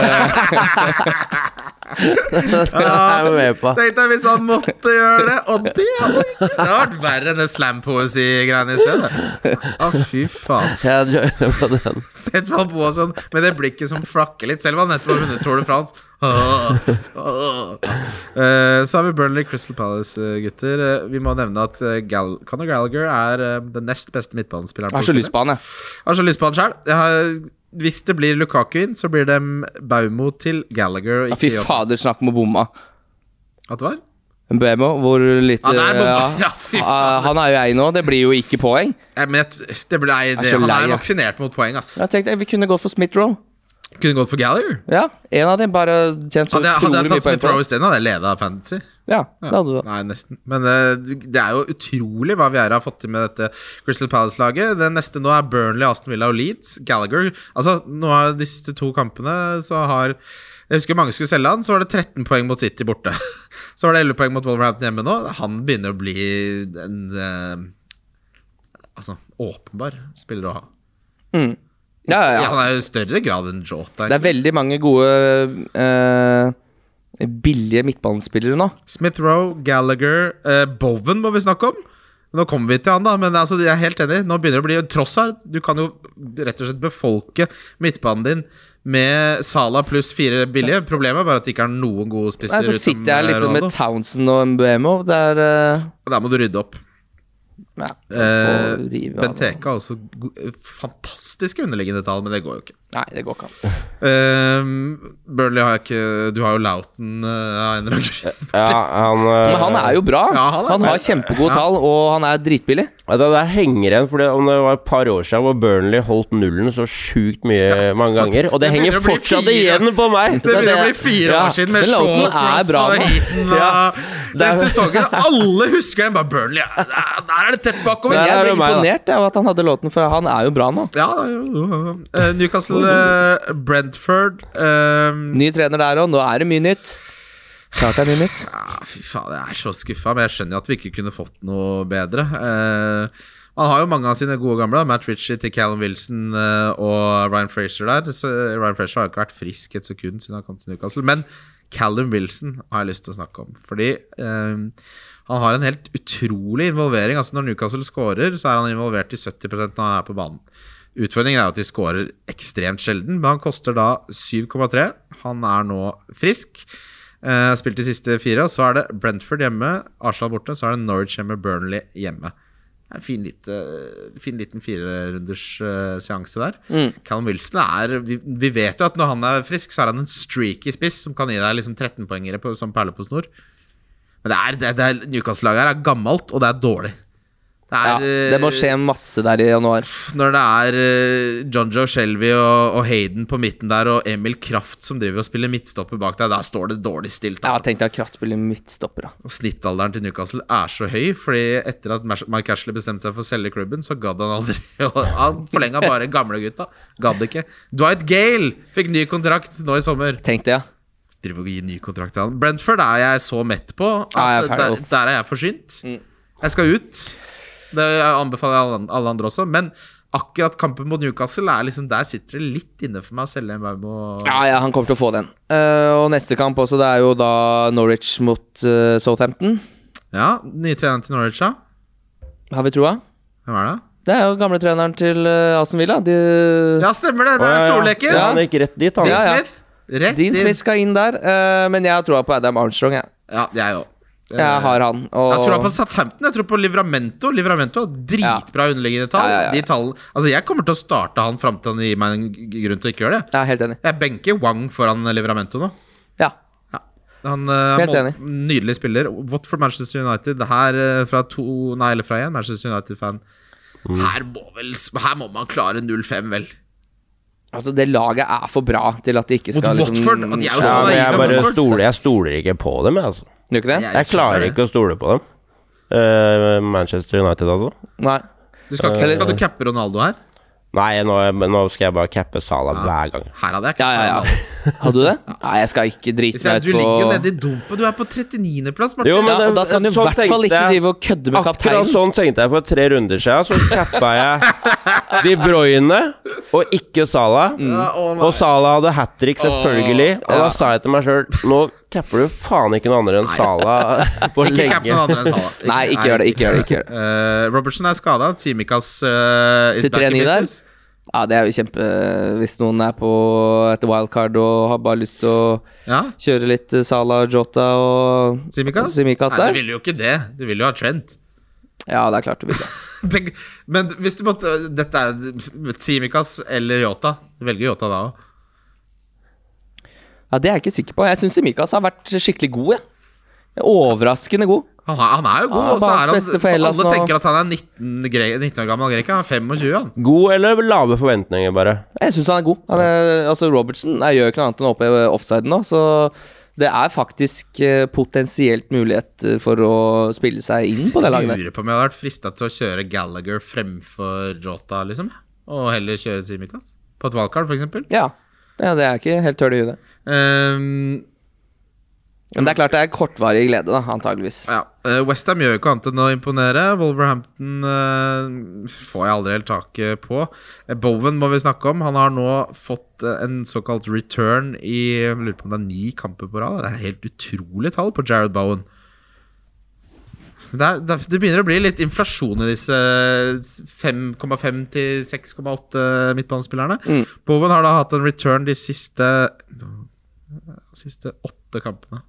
S5: Det er vi med på.
S3: Tenk deg hvis han måtte gjøre det, og det hadde ikke Det hadde vært verre enn det slampoesi-greiene i stedet. Å, fy faen.
S5: Jeg joiner på den.
S3: Sett hva på sånn, med det blikket som flakker litt, selv om han nettopp har vunnet Tour de France. Åh, åh. Eh, Så har vi Burnley Crystal Palace, eh, gutter. Eh, Vi må nevne at eh, Gal Conor Gallagher er eh, den nest beste midtbanespilleren.
S4: Jeg har så lyst på han, jeg.
S3: Har så lyst på han sjøl. Hvis det blir Lukaku inn, så blir det Baumo til Gallagher. Og
S4: Ja, Fy
S3: ikke Jota.
S4: fader, snakk om å bomme.
S3: At det var?
S4: Bemo, hvor litt
S3: Ja, der bomma.
S4: eh,
S3: [laughs] Ja, fy
S4: ja, Han er jo ei nå, det blir jo ikke poeng.
S3: Eh, Men jeg, t- det ble, nei, det,
S4: så
S3: han
S4: lei,
S3: er
S4: jeg.
S3: vaksinert mot poeng, ass.
S4: Jeg tenkte eh, Vi kunne gått for Smith-Roe.
S3: Kunne gått for Gallagher.
S4: Ja, en av dem bare tjent så
S3: Hadde jeg, hadde jeg
S4: utrolig mye
S3: tatt
S4: poeng
S3: Smith
S4: på
S3: Rowe
S4: det.
S3: isteden, hadde jeg leda Fantasy.
S4: Ja, det hadde du da.
S3: Nei, nesten. Men eh, det er jo utrolig hva Vieira har fått til med dette Crystal Palace-laget. Det neste nå er Burnley, Aston Villa og Leeds. Gallagher Altså, nå har de siste to kampene så har Jeg husker mange skulle selge han, så var det 13 poeng mot City borte. [laughs] Så var det 11 poeng mot Wolverhampton hjemme nå. Han begynner å bli en eh, Altså, åpenbar spiller å ha.
S4: Ja, ja, ja.
S3: Han er jo i større grad enn Jota.
S4: Det er veldig mange gode eh, billige midtbanespillere nå.
S3: Smith Rowe, Gallagher, eh, Bowen må vi snakke om. Nå kommer vi til han, da, men altså, jeg er helt enig. Nå begynner det å bli Trossard. Du kan jo rett og slett befolke midtbanen din med Sala pluss fire billige. Problemet er bare at det ikke er noen gode
S4: Nei,
S3: spisser
S4: så
S3: utenom
S4: sitter jeg liksom med
S3: Ronaldo.
S4: Townsend og Mbuemo. Det er eh,
S3: Der må du rydde opp.
S4: ja,
S3: Eh,
S4: får rive av det.
S3: Benteke har også go- fantastiske underliggende tall, men det går jo ikke.
S4: Nei, det går ikke an.
S3: Um, Burnley har jeg ikke Du har jo Louten eh, av en eller annen grunn.
S5: Ja, han, eh,
S4: Men han er jo bra.
S3: Ja, han
S4: han,
S3: er bra.
S4: har kjempegode tall, og han er dritbillig.
S5: Ja, Det der henger igjen, for om det var et par år siden hvor Burnley holdt nullen så sjukt mye mange ganger, og det,
S3: det
S5: henger
S3: begynner å bli
S5: fortsatt
S3: fire.
S5: igjen på meg!
S3: Det begynner å bli
S5: det-
S3: fire
S5: ja,
S3: år siden med
S4: men
S3: Shaw
S4: Loughton er
S3: Cross
S4: bra
S3: og
S4: nå.
S3: Heaton og
S5: Ja. Det er-
S3: Den sesongen alle husker den. Bare Burnley. ja, Der der er det tett bakover.
S5: Ja,
S4: Jeg
S5: det er
S4: ble
S5: jo meg, da.
S4: imponert av at han hadde låten, for han er jo bra nå.
S3: Ja, jo, jo. Eh, Newcastle, eh, Brentford eh,
S4: Ny trener der òg. Nå er det mye nytt. Klart det er mye nytt.
S3: ja, Fy faen, jeg er så skuffa, men jeg skjønner jo at vi ikke kunne fått noe bedre. Eh, han har jo mange av sine gode gamle. Matt Ritchie til Callum Wilson eh, og Ryan Frazier der. Så eh, Ryan Frazier har jo ikke vært frisk et sekund siden han kom til Newcastle. Men Callum Wilson har jeg lyst til å snakke om. Fordi eh, han har en helt utrolig involvering. Altså Når Newcastle scorer, så er han involvert i 70 når han er på banen. Utfordringen er jo at de scorer ekstremt sjelden, men han koster da 7,3. Han er nå frisk. Eh, spilt de siste fire, og så er det Brentford hjemme, Arsenal borte, så er det Norwich hjemme, Burnley hjemme. Det er en fin, lite, fin liten firerunders eh, seanse der.
S4: Mm.
S3: Callum Wilson er vi, vi vet jo at når han er frisk, så er han en streaky spiss som kan gi deg liksom 13-poengere på- som perle på snor. Men det er, det, det er Newcastle-laget her er gammelt, og det er dårlig. Det
S4: Ja,
S3: er, eh,
S4: det må skje masse der i januar.
S3: når det er eh, John Joe Shelby og, og Hayden på midten der, og Emil Kraft som driver og spiller midtstopper bak deg, da står det dårlig stilt.
S4: Jeg
S3: Altså.
S4: har tenkt at Kraft spiller midtstopper. da.
S3: Og Snittalderen til Newcastle er så høy, fordi etter at Mash- Mike Ashley bestemte seg for å selge klubben, så gadd han aldri. [laughs] og Han forlenga bare gamlegutta. Gadd ikke. Dwight Gale fikk ny kontrakt nå i sommer.
S4: Tenk det, ja.
S3: Driver og gir ny kontrakt til han. Brentford er jeg så mett på.
S4: Ja,
S5: Ah,
S3: At
S4: jeg er ferdig.
S3: der, der er jeg forsynt. Jeg skal ut. Det anbefaler jeg alle an- alle andre også. Men akkurat kampen mot Newcastle er liksom der sitter det litt inne for meg å selge en Baumo.
S4: Ja, ja, han kommer til å få den. Eh, og neste kamp også, det er jo da Norwich mot eh, Southampton.
S3: Ja, nye treneren til Norwich, ja.
S4: Har vi troa?
S3: Hvem er det?
S4: Det er jo gamletreneren til eh, Aston Villa. De,
S3: Ja, stemmer det! Det
S5: Å,
S3: er
S5: ja, ja.
S3: storleken!
S5: Ja, han gikk rett dit, han.
S3: Dean
S4: Ja, ja.
S3: Smith. Rett
S4: Dean
S3: inn.
S4: Smith skal inn der, eh, men jeg har troa på Adam Armstrong. Jeg.
S3: Ja, jeg òg.
S4: Jeg har han. Og
S3: Jeg tror på Southampton, jeg tror på Livramento. Livramento har dritbra underliggende tall.
S4: Ja, ja, ja.
S3: De tallene, altså Jeg kommer til å starte han fram til han gir meg en g- grunn til å ikke gjøre det.
S4: jeg er helt enig.
S3: Jeg benker Wang foran Livramento nå.
S4: Ja.
S3: Ja. Han eh,
S4: Helt
S3: mål-
S4: enig.
S3: Nydelig spiller. Watford Manchester United. Her eh, fra to Nei, eller fra én Manchester United-fan.
S5: Mm.
S3: Her, må vel, her må man klare 0-5, vel.
S4: Altså, det laget er for bra til at det ikke
S3: Mot
S4: skal liksom
S3: Watford, og de er jo
S5: Ja,
S3: så
S5: men jeg
S3: naive,
S5: bare
S3: Watford.
S5: stoler, jeg stoler ikke på dem, jeg, altså.
S4: Gjør ikke det?
S3: Jeg
S5: Jeg klarer
S3: skjønner
S5: ikke å stole på dem. Eh, Manchester United, altså.
S4: Nei.
S3: Du skal,
S5: Eh.
S3: ikke, skal du cappe Ronaldo her?
S5: Nei, nå, nå skal jeg bare cappe Sala hver gang.
S3: Her hadde jeg
S4: Ja, ja,
S3: [laughs] cappet Ronaldo.
S4: ja. Hadde du det? Nei, jeg skal ikke drite
S3: Hvis jeg-
S4: meg
S3: Du
S4: ut på
S3: ligger jo nede i dumpa. Du er på 39.-plass, Martin.
S5: Jo,
S4: ja,
S5: men det-
S4: og Da skal han jo i
S5: sånn
S4: hvert fall
S5: tenkte
S4: ikke
S5: jeg.
S4: drive og kødde med
S5: Akkurat
S4: kapteinen.
S5: sånn tenkte jeg for tre runder siden. Så cappa jeg De Bruyne og ikke Sala.
S3: Mm. Ja, å nei.
S5: Og Sala hadde hat trick, selvfølgelig. Og da sa jeg til meg sjøl Nå capper du faen ikke noe annet enn Sala
S3: [laughs]
S5: på
S3: Ikke capp
S5: lenge.
S3: noen andre enn Salah.
S4: [laughs] Nei, ikke gjør det. ikke gjør det, ikke gjør det
S3: Eh, Robertson er skada. Simikas uh, is
S4: Til
S3: back in
S4: 3-9 der?
S3: business.
S4: Ja, det er jo kjempe Hvis noen er på et wildcard og har bare lyst til å
S3: Ja,
S4: kjøre litt eh, Salah, Jota og
S3: Simikas?
S4: Simikas
S3: Nei,
S4: der.
S3: du vil jo ikke det. Du vil jo ha Trent. [laughs]
S4: Ja, det er klart du vil det.
S3: Tenk, men hvis du måtte Dette er Simikas eller Yota. Du velger Yota da òg.
S4: [laughs] Ja, Det er jeg ikke sikker på. Jeg syns Simikas har vært skikkelig god, jeg. Overraskende god.
S3: Han, er- han er jo god.
S4: Ja,
S3: og så
S4: banens
S3: er han,
S4: beste altså. for
S3: for alle
S4: Hellas nå.
S3: tenker at han er 19, gre 19 år gammel greker. Han er 25, han.
S5: God eller lave forventninger, bare.
S4: Jeg syns han er god. Han er, altså Robertson jeg gjør ikke noe annet enn å oppheve offsiden nå, så det er faktisk eh, potensielt mulighet eh, for å spille seg inn Mm, på det laget der.
S3: Lurer på om jeg hadde vært frista til å kjøre Gallagher fremfor Jota, liksom. Og heller kjøre Simikas. På et valgkart, f.eks.
S4: Ja. ja, det er ikke helt tørt i huet.
S3: Um,
S4: Men det er klart det er kortvarig glede, da, antageligvis.
S3: Ja, eh, West Westham gjør jo ikke annet enn å imponere. Wolverhampton eh, får jeg aldri helt taket på. Eh, Bowen må vi snakke om. Han har nå fått eh, en såkalt return i jeg Lurer på om det er ni kamper på rad. Det er helt utrolig tall på Jared Bowen. Det, er, det, er- det begynner å bli litt inflasjon i disse eh, 5,5 til 6,8 midtbanespillerne. Bowen har da hatt en return de siste Siste åtte kampene.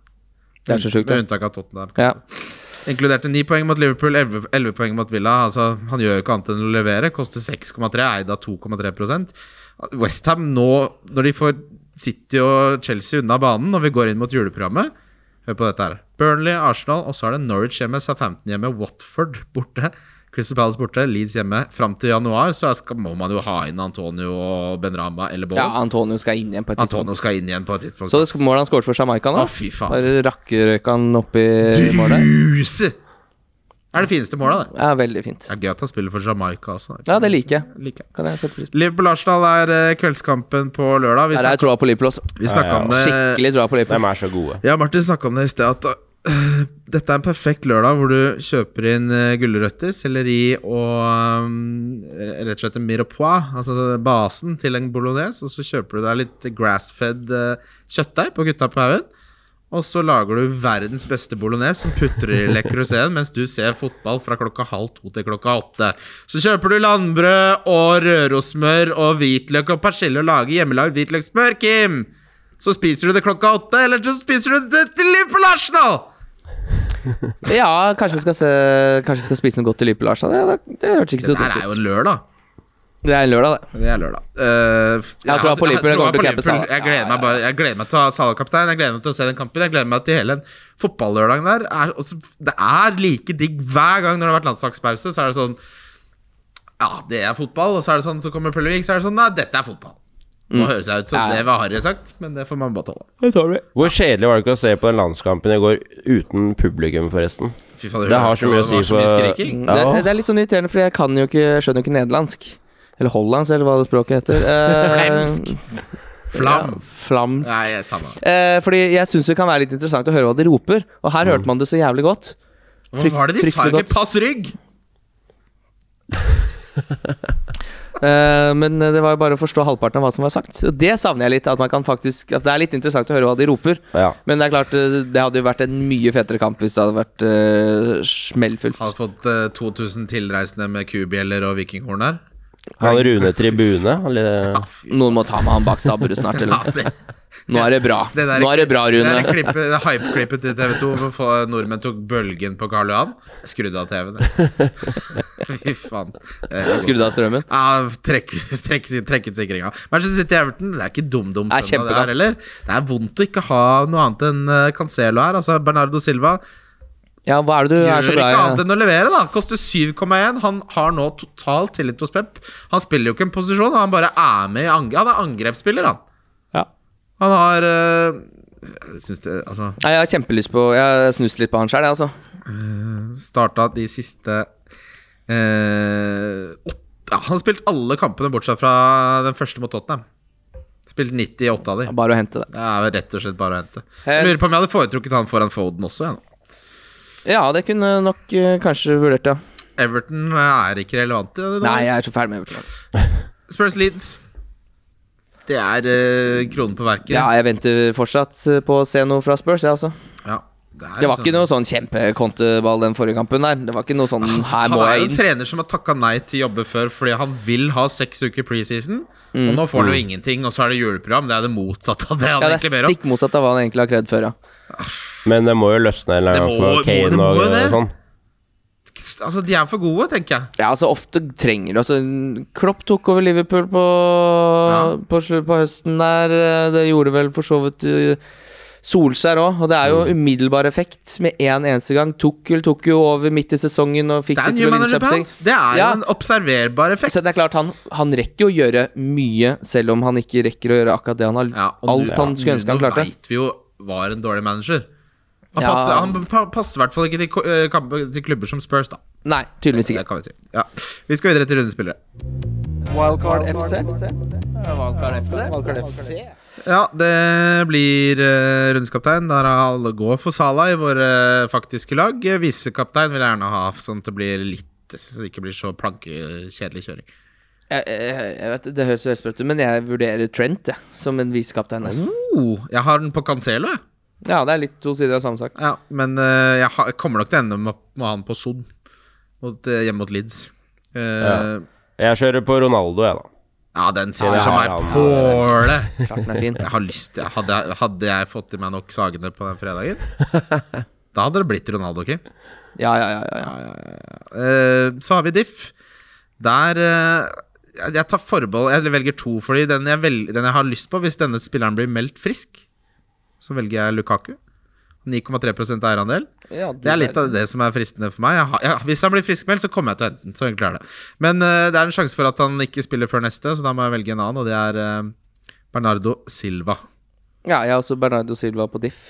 S4: Det er så sjukt,
S3: Med
S4: det.
S3: unntak av Tottenham.
S4: Ja.
S3: Inkluderte 9 poeng mot Liverpool, 11, 11 poeng mot Villa. Altså, han gjør jo ikke annet enn å levere. Koster 6,3, eid av 2,3 Westham nå, når de får City og Chelsea unna banen, når vi går inn mot juleprogrammet Hør på dette her. Burnley, Arsenal, og så er det Norwich hjemme, Southampton hjemme, Watford borte. Crystal Palace borte, Leeds hjemme. Fram til januar så skal, må man jo ha inn Antonio og Benrama eller
S4: ja,
S3: Bowen.
S4: Antonio skal inn igjen på et tidspunkt.
S3: Antonio skal inn igjen på et tidspunkt.
S4: Så det sk- målet han skåret for Jamaica nå
S3: Å, fy Ah, faen.
S4: Bare rakkerøyk han opp i målet.
S3: Druse! Er det fineste målet, det.
S4: Ja, veldig fint.
S3: Det er gøy at han spiller for Jamaica også.
S4: Ja, det liker jeg.
S3: liker jeg.
S4: Kan jeg sette pris på.
S3: Liverpool-Arsenal er eh, kveldskampen på lørdag. Vi
S4: Der er
S3: snakka
S4: troa på Liverpool også.
S3: vi snakka om det
S4: Skikkelig troa på Liverpool.
S5: De er så gode.
S3: Ja, Martin snakka om det i sted, at eh, dette er en perfekt lørdag hvor du kjøper inn eh, gulrøtter, selleri og eh, rett og slett en mirepoix, altså basen til en bolognese, og så kjøper du deg litt grassfed eh, kjøttdeig på gutta på haugen. Og så lager du verdens beste bolognese som putter i Le Creuset mens du ser fotball fra klokka halv to til klokka åtte. Så kjøper du landbrød og rørosmør og hvitløk og persille og lager hjemmelagd hvitløkssmør, Kim! Så spiser du det klokka åtte, eller så spiser du det til Liverpool Arsenal!
S4: Ja, kanskje jeg skal, se, kanskje jeg skal spise noe godt til Liverpool, Arsenal. Ja, det, det hørtes ikke så
S3: Det her
S4: dumt
S3: er jo
S4: ut.
S3: en lørdag.
S4: Det er en lørdag, det.
S3: Det er lørdag. Eh,
S4: Jeg tror på Liverpool, jeg
S3: tror
S4: kommer til å
S3: på Liverpool.
S4: cappe Salah.
S3: Jeg gleder meg bare Jeg gleder meg til å ha Salah kaptein, jeg gleder meg til å se den kampen. Jeg gleder meg til hele den fotballørdagen der. Er, også, det er like digg hver gang når det har vært landslagspause. Så er det sånn Ja, det er fotball. Og så er det sånn, så kommer Pullevik, så er det sånn Nei, dette er fotball. Nå høres jeg ut som
S4: Ja, Mm. ja.
S3: det var Harry sagt, men det får man bare tåle.
S4: Det tar vi.
S5: Hvor kjedelig var det ikke å se på den landskampen i går uten publikum, forresten?
S3: Fy faen,
S5: Det har så mye å si
S3: var så mye
S5: for-
S3: skriking.
S5: Ja.
S4: Det, det er litt sånn irriterende, for jeg kan jo ikke, skjønner jo ikke nederlandsk. Eller hollandsk, eller hva det språket heter. Eh,
S3: Flamsk. Flam.
S4: Ja, flamsk.
S3: Nei, samme.
S4: Eh, fordi jeg syns det kan være litt interessant å høre hva de roper, og
S3: Mm.
S4: her hørte man det så jævlig godt.
S3: Hva var det de sa?
S4: fryktelig
S3: Ikke
S4: godt.
S3: pass rygg!
S4: Eh, men det var jo bare å forstå halvparten av hva som var sagt. Og det savner jeg litt. At man kan faktisk At det er litt interessant å høre hva de roper.
S5: Ja.
S4: Men det er klart, eh, det hadde jo vært en mye fetere kamp hvis det hadde vært eh, smellfullt.
S3: Har fått eh, 2000 tilreisende med kubjeller og vikinghorn her.
S5: Han Rune Tribune. Han, li-
S3: Ja, fy
S4: Noen må ta med han bak stabburet snart,
S3: Ja,
S4: eller
S3: det,
S4: [laughs] Nå
S3: [laughs]
S4: er det bra.
S3: Det der-
S4: Nå er det bra,
S3: Det der
S4: Rune.
S3: klippet, det hype-klippet til TV 2 hvor få- nordmenn tok bølgen på Karl Johan. Jeg skrudde av TV-en.
S4: [laughs]
S3: jeg. Fy faen.
S4: Skrudd av strømmen.
S3: Ja, trekk, trekk, trekk ut sikringa. Manchester City Everton, det er ikke dum-dum
S4: Det
S3: søndag
S4: er
S3: det
S4: kjempekamp.
S3: her heller. Det er vondt å ikke ha noe annet enn eh, Cancelo her. Altså Bernardo Silva
S4: Ja, hva er det du er
S3: gjør
S4: så
S3: ikke annet
S4: glad i?
S3: enn å levere, da. Koster 7,1. Han har nå total tillit hos Pep. Han spiller jo ikke en posisjon, han bare er med i ang Han er angrepsspiller, han.
S4: Ja.
S3: Han har eh, Jeg syns det Altså
S4: Nei, Jeg har kjempelyst på Jeg har snust litt på han sjøl, jeg, altså.
S3: starta de siste eh, åtte, ja, Han har spilt alle kampene bortsett fra den første mot Tottenham. Spilt 98 av de.
S4: Bare å hente det.
S3: Det er vel rett og slett bare å hente.
S4: Helt-
S3: Jeg lurer på om jeg hadde foretrukket han foran Foden også. Jeg, nå.
S4: Ja, det kunne nok eh, kanskje vurdert, ja.
S3: Everton er ikke relevant. i det nå.
S4: Nei, jeg er så ferdig med Everton.
S3: Spurs Leeds. Det er eh, kronen på verket.
S4: Ja, jeg venter fortsatt eh, på å se noe fra Spurs, jeg, altså.
S3: Ja, det, er
S4: Det var
S3: liksom-
S4: ikke noe sånn kjempekonteball den forrige kampen der. Det var ikke noe sånn her
S3: Ah, Han
S4: må
S3: er jo
S4: jeg
S3: en
S4: inn.
S3: trener som har takka nei til jobbe før fordi han vil ha seks uker preseason. Og nå får han jo ingenting, og så er det juleprogram. Det er det motsatte av det han
S4: Mm. Ja, det
S3: egentlig
S4: er
S3: ber om.
S4: stikk motsatt av hva han egentlig har krevd før, ja.
S5: Men det må jo løsne en eller
S3: Det
S5: annen
S3: må-
S5: gang for
S3: må- det
S5: Kane
S3: må
S5: og,
S3: jo det.
S5: og sånn.
S3: Altså, de er for gode, tenker jeg.
S4: Ja, altså ofte trenger du altså, Klopp tok over Liverpool på,
S3: Ja.
S4: på, slu- på høsten der. eh, Det gjorde vel for så vidt eh, Solskjær òg, og det er jo
S3: Mm.
S4: umiddelbar effekt. Med én eneste gang. Tukkel tok jo over midt i sesongen og fikk
S3: Det er
S4: det
S3: en
S4: til
S3: new
S4: å vinne
S3: manager på
S4: Champions
S3: hans.
S4: League.
S3: Det er jo
S4: Ja.
S3: en observerbar effekt.
S4: Så det er klart, han, han rekker jo å gjøre mye, selv om han ikke rekker å gjøre akkurat det han har
S3: Ja, og
S4: Alt
S3: nå-
S4: han skulle ønske han
S3: nå
S4: klarte.
S3: vet vi jo var en dårlig manager. Han
S4: Ja.
S3: passer, han pa- passer i hvert fall ikke til, ko- eh, kamp- til klubber som Spurs, da.
S4: Nei, tydeligvis ikke.
S3: Det kan vi si. Ja. Vi skal videre til rundespillere.
S2: Wildcard FC. Wildcard FC.
S3: Ja, det blir eh, rundeskaptein. Der har alle går for Salah i våre faktiske lag. Eh, Visekaptein vil jeg gjerne ha, sånn at det blir litt så det ikke blir så plankekjedelig kjøring.
S4: Jeg, jeg, jeg vet, det høres jo helt sprøtt ut, men jeg vurderer Trent jeg, som en visekaptein. der.
S3: Oh, jeg har den på Cancelo, jeg.
S4: Ja, det er litt to sider av samme sak.
S3: Ja, men eh, jeg, har, jeg kommer nok til å ende med, med han på Son mot, eh, hjemme mot Leeds. Eh, ja.
S5: Jeg kjører på Ronaldo, jeg, da.
S3: den sitter
S5: Ja,
S3: som
S5: ja,
S3: ei
S5: ja, ja.
S3: påle!
S4: Klart den er
S3: [laughs]
S4: fin.
S3: Jeg har lyst jeg, hadde, jeg- hadde jeg fått i meg nok Sagene på den fredagen, da hadde det blitt Ronaldo, Kim.
S4: Ja, ja, ja, ja, ja.
S3: Eh, så har vi Diff. Der eh, jeg- Jeg tar forbehold Jeg velger to, fordi den jeg, vel, den jeg har lyst på, hvis denne spilleren blir meldt frisk, så velger jeg Lukaku. 9,3 eierandel.
S4: Ja, du
S3: Det er litt
S4: der.
S3: av det som er fristende for meg. Jeg har, ja, hvis han blir friskmeldt, så kommer jeg til å hente den. Så enkelt er det. Men eh, det er en sjanse for at han ikke spiller før neste, så da må jeg velge en annen, og det er eh, Bernardo Silva.
S4: Ja, jeg har også Bernardo Silva på diff.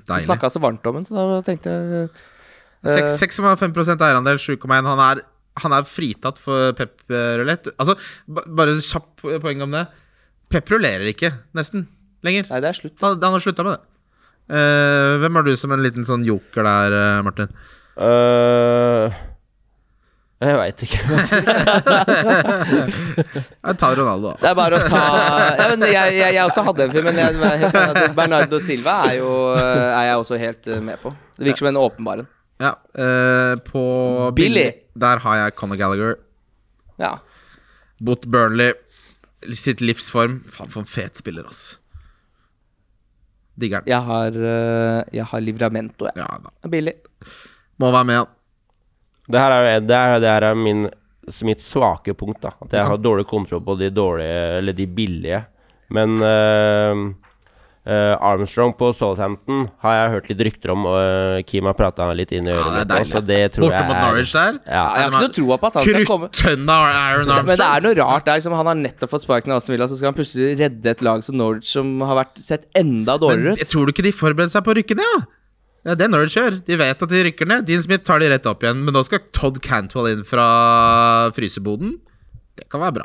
S4: Du
S3: Deilig.
S4: snakka så varmt om den, så da tenkte jeg eh,
S5: Eh.
S3: Seks- 6,5 eierandel, 7,1. Han er, han er fritatt for Pep Rulett. Altså, ba- bare kjapp poeng om det. Pep rullerer ikke, nesten, lenger.
S4: Nei, det er slutt.
S3: Han, han har slutta med det. Eh, hvem har du som en liten sånn joker der, eh, Martin?
S5: Øh, jeg veit ikke. [laughs]
S3: Jeg tar Ronaldo, da.
S4: Det er bare å ta ja, men jeg, jeg, jeg også hadde en fyr, men jeg, jeg, helt enig at Bernardo Silva er jo Er jeg også helt eh, med på. Det virker som en åpenbar en.
S3: Ja, eh, på
S4: Billy.
S3: Der har jeg Conor Gallagher.
S4: Ja.
S3: Bot Burnley. Sitt livsform. Faen, for en fet spiller, ass. Digger den.
S4: Jeg har, eh, jeg har Livramento, jeg.
S3: Ja da.
S4: Det er Billig.
S3: Må være med, han.
S5: Det her er, jo- det er, det her er min, mitt svake punkt, da. At jeg har dårlig kontroll på de dårlige, eller de billige. Men øh, øh, Armstrong på Southampton har jeg hørt litt rykter om, og øh, Kim har prata litt inn i
S3: Ja,
S5: øret
S3: det er
S5: mitt
S3: deilig.
S5: også. Det tror
S3: Borte
S5: jeg
S3: mot
S5: er-
S3: Norwich der.
S5: Ja.
S4: Jeg har ikke noe troa på at han skal komme
S3: Kruttønna Aaron Armstrong.
S4: Men det er noe rart. Det er liksom, han har nettopp fått sparken av Aston Villa, så skal han plutselig redde et lag som Norwich, som har vært sett enda dårligere ut.
S3: Jeg tror du ikke de forbereder seg på å rykke ned, ja? Det er det Norwich gjør. De vet at de rykker ned. Dean Smith tar de rett opp igjen. Men nå skal Todd Cantwell inn fra fryseboden. Det kan være bra.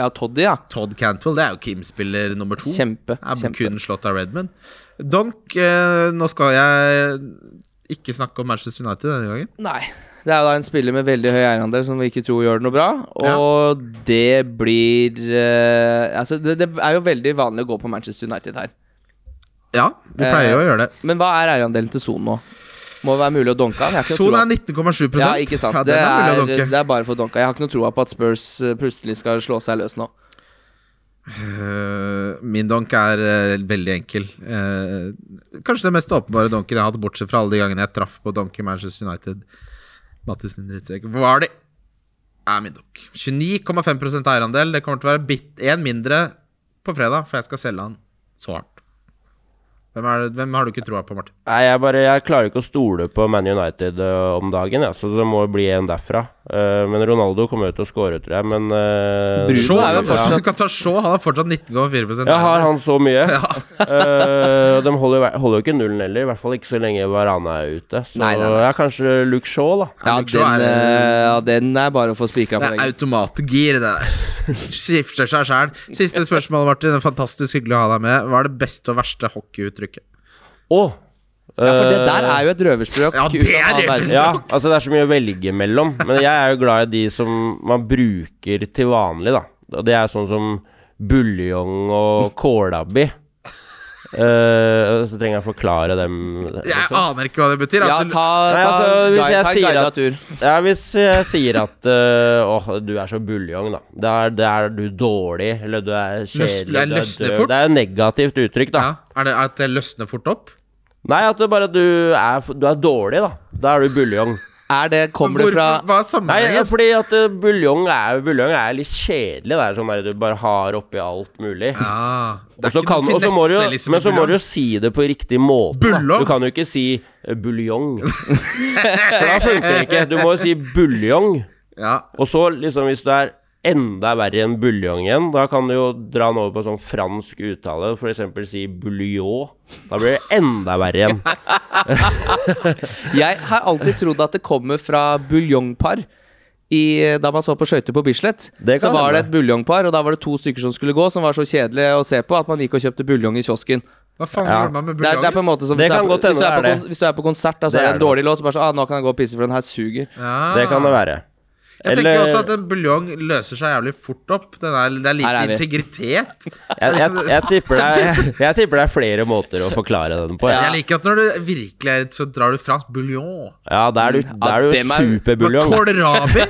S4: Ja, Toddy, ja.
S3: Todd Cantwell, det er jo Kim-spiller nummer to.
S4: Kjempe,
S3: er
S4: kjempe.
S3: kun slått av Redmond. Donk, eh, nå skal jeg ikke snakke om Manchester United denne gangen.
S4: Nei. Det er jo da en spiller med veldig høy eierandel som vi ikke tror gjør det noe bra. Og det blir eh, Altså, det, det er jo veldig vanlig å gå på Manchester United her.
S3: Ja, vi
S4: Eh,
S3: pleier jo å gjøre det.
S4: Men hva er eierandelen til Son nå? Må være mulig å donke han? Jeg har ikke
S3: Son
S4: noe
S3: er
S4: troa-
S3: 19,7
S4: ja, ikke sant.
S3: Ja,
S4: det,
S3: den er mulig å
S4: er,
S3: dunke.
S4: det er bare for donka. Jeg har ikke noe troa på at Spurs eh, plutselig skal slå seg løs nå.
S3: Eh, min donk er eh, veldig enkel. Eh, kanskje den mest åpenbare donken jeg har hatt, bortsett fra alle de gangene jeg traff på donk i Manchester United. Mattis din drittsekk. Hva er det? Er min donk. 29,5 eierandel. Det kommer til å være bitt én mindre på fredag, for jeg skal selge han så hardt. Hvem, er det, hvem har du ikke troa på, Martin?
S5: Nei, jeg bare Jeg klarer ikke å stole på Man United ø, om dagen, ja, så det må bli en derfra. Eh, men Ronaldo kommer jo til å score, tror jeg. Men eh,
S4: Bruno
S3: Shaw,
S4: er jo
S3: han, har fortsatt,
S4: fortsatt-
S3: du kan ta Shaw, han har fortsatt 19,4
S5: jeg har
S3: eierandel.
S5: han så
S4: [laughs]
S5: mye. Eh, og de holder, jo- holder jo ikke nullen heller, i hvert fall ikke så lenge Varane er ute. Så
S4: Nei, nei, nei.
S5: ja, kanskje Luke Shaw, da.
S4: Ja,
S3: men så
S4: den,
S3: er det-
S4: eh, ja, den er bare å få spikra
S3: Det
S4: på.
S3: er
S4: den.
S3: automatgir, det der. Skifter seg sjæl. Siste spørsmål, Martin. Det er Fantastisk hyggelig å ha deg med. Hva er det beste og verste hockeyuttrykket?
S5: Å!
S4: Ja, for det
S5: eh,
S4: der er jo et røverspråk.
S3: Ja, det
S4: uten
S3: er
S4: all verden.
S3: røverspråk.
S5: Ja, altså det er så mye å velge mellom. Men jeg er jo glad i de som man bruker til vanlig, da. Og det er sånn som buljong og
S4: [laughs]
S5: kålabbi. Eh, så trenger jeg å forklare dem
S3: Jeg aner ikke hva det betyr.
S4: Ja,
S3: At du,
S4: ta, ta,
S5: Nei, altså, hvis
S4: guide-
S5: jeg
S4: ta en
S5: sier
S4: guidet
S5: at-
S4: tur.
S5: Ja, hvis jeg sier at eh, Åh, du er så buljong, da. Da er, da er du dårlig, eller du er
S3: Løs-
S5: kjedelig, du er
S3: løsner
S5: døv.
S3: fort.
S5: Det er et negativt uttrykk, da.
S3: ja, er det at det løsner fort opp?
S5: Nei, at det bare du er, f- du er dårlig, da. Da er du buljong.
S4: Er det, kommer
S3: Hvorfor,
S4: det fra
S3: hva er
S5: Nei,
S3: sammenhengen?
S5: fordi at eh, buljong er, buljong er litt kjedelig. Det er sånn der du bare har oppi alt mulig.
S3: ja, det
S5: Og
S3: er
S5: så
S3: ikke
S5: kan,
S3: noe
S5: og så må du,
S3: finesse,
S5: jo-
S3: liksom.
S5: men så må du jo si det på riktig måte. da.
S3: Buljong?
S5: Du kan jo ikke si eh, buljong. For da funker det ikke. Du må jo si buljong.
S3: [laughs] ja,
S5: Og så, liksom, hvis du er enda verre enn buljong igjen, da kan du jo dra den over på sånn fransk uttale. For eksempel si buljon. Da blir det enda verre igjen.
S4: Jeg har alltid trodd at det kommer fra buljongpar. I, da man så på skøyter på Bislett,
S5: Det
S4: så
S5: kan
S4: var
S5: hende.
S4: det et buljongpar. Og da var det to stykker som skulle gå, som var så kjedelige å se på at man gikk og kjøpte buljong i kiosken.
S3: hva faen
S5: Ja.
S3: gjør man med
S4: Det er, det er på en
S3: buljongen?
S4: måte som hvis
S5: Det
S4: du er
S5: kan
S4: på-
S5: godt hende
S4: hvis du er
S5: det
S4: på
S5: er
S4: kon- Hvis du er på konsert, da, så er
S5: Det
S4: det
S5: er
S4: en
S5: det.
S4: dårlig låt. Så bare sånn, ah, nå kan jeg gå og pisse, for den her suger.
S5: Det kan det være.
S3: Jeg tenker
S5: Eller-
S3: også at en buljong løser seg jævlig fort opp. Den er, det er
S4: Her
S3: lite
S4: er vi.
S3: integritet. liksom-
S5: Jeg, jeg,
S3: [laughs]
S5: jeg, tipper det er, jeg tipper det er flere måter å forklare den på.
S3: Jeg
S5: Ja,
S3: liker at når du virkelig er så drar du fransk buljong.
S5: ja da er du, da er du
S4: dem er-
S5: superbuljong.
S3: Kålrabi?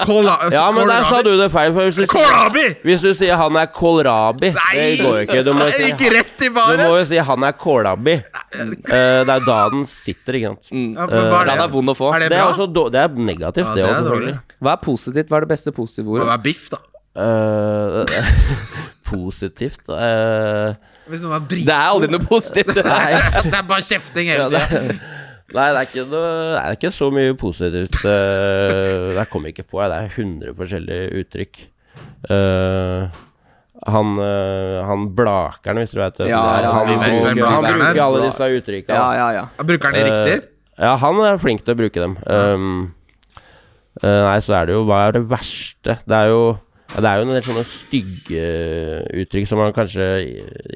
S3: Kåla, altså,
S5: [laughs] Ja, men der sa
S3: kålrabi.
S5: du det feil. For hvis, du,
S3: Kålrabi!
S5: hvis du sier han er kålrabi Det
S3: Nei!
S5: går jo ikke. Du må jo si,
S3: Ikke rett i
S5: du
S3: baren!
S5: må jo si han er kålabi. Eh, det er da den sitter, ikke sant.
S3: Ja, men hva
S4: Ja, det er vond å få.
S3: Er det
S5: Det er,
S3: bra?
S5: også, då- det er negativt,
S3: Ja,
S5: det
S3: det
S5: òg,
S3: er
S5: selvfølgelig.
S3: dårlig.
S4: Hva er positivt? Hva er det beste positive
S3: Det
S4: ordet?
S3: er biff, da.
S5: Eh, [laughs] positivt eh,
S3: Hvis noen er [laughs]
S4: Det
S3: drit...
S4: er aldri noe positivt. Det er.
S5: nei,
S3: Det er bare kjefting hele
S5: det,
S3: tida.
S5: [laughs] nei, det er ikke noe Det er ikke så mye positivt. eh, jeg kom ikke på jeg. Det er 100 forskjellige uttrykk. Eh, han, eh, han Blakeren, hvis du vet det.
S4: Ja, ja,
S5: han,
S4: vi vet
S5: bruker,
S4: hvem
S5: han
S3: Blakeren er.
S5: bruker alle disse uttrykka.
S4: [laughs] Ja, ja, ja.
S3: Bruker han
S5: Eh.
S3: det riktig?
S5: Ja, han er flink til å bruke dem. Um, eh, nei, så er det jo Hva er det verste? Det er jo ja, det er jo en del sånne stygge uttrykk som man kanskje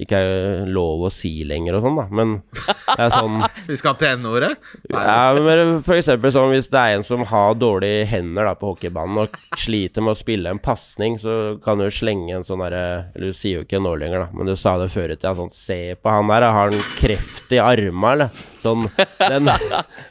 S5: ikke er lov å si lenger og sånn, da. Men det er sånn
S3: Vi skal til N-ordet?
S5: ja, men For eksempel sånn hvis det er en som har dårlige hender da på hockeybanen og sliter med å spille en pasning, så kan du jo slenge en sånn derre Eller du sier jo ikke nå lenger, da, men du sa det før i tida. Sånn Se på han der, da. har han kreft i arma, eller? Sånn. Den, den er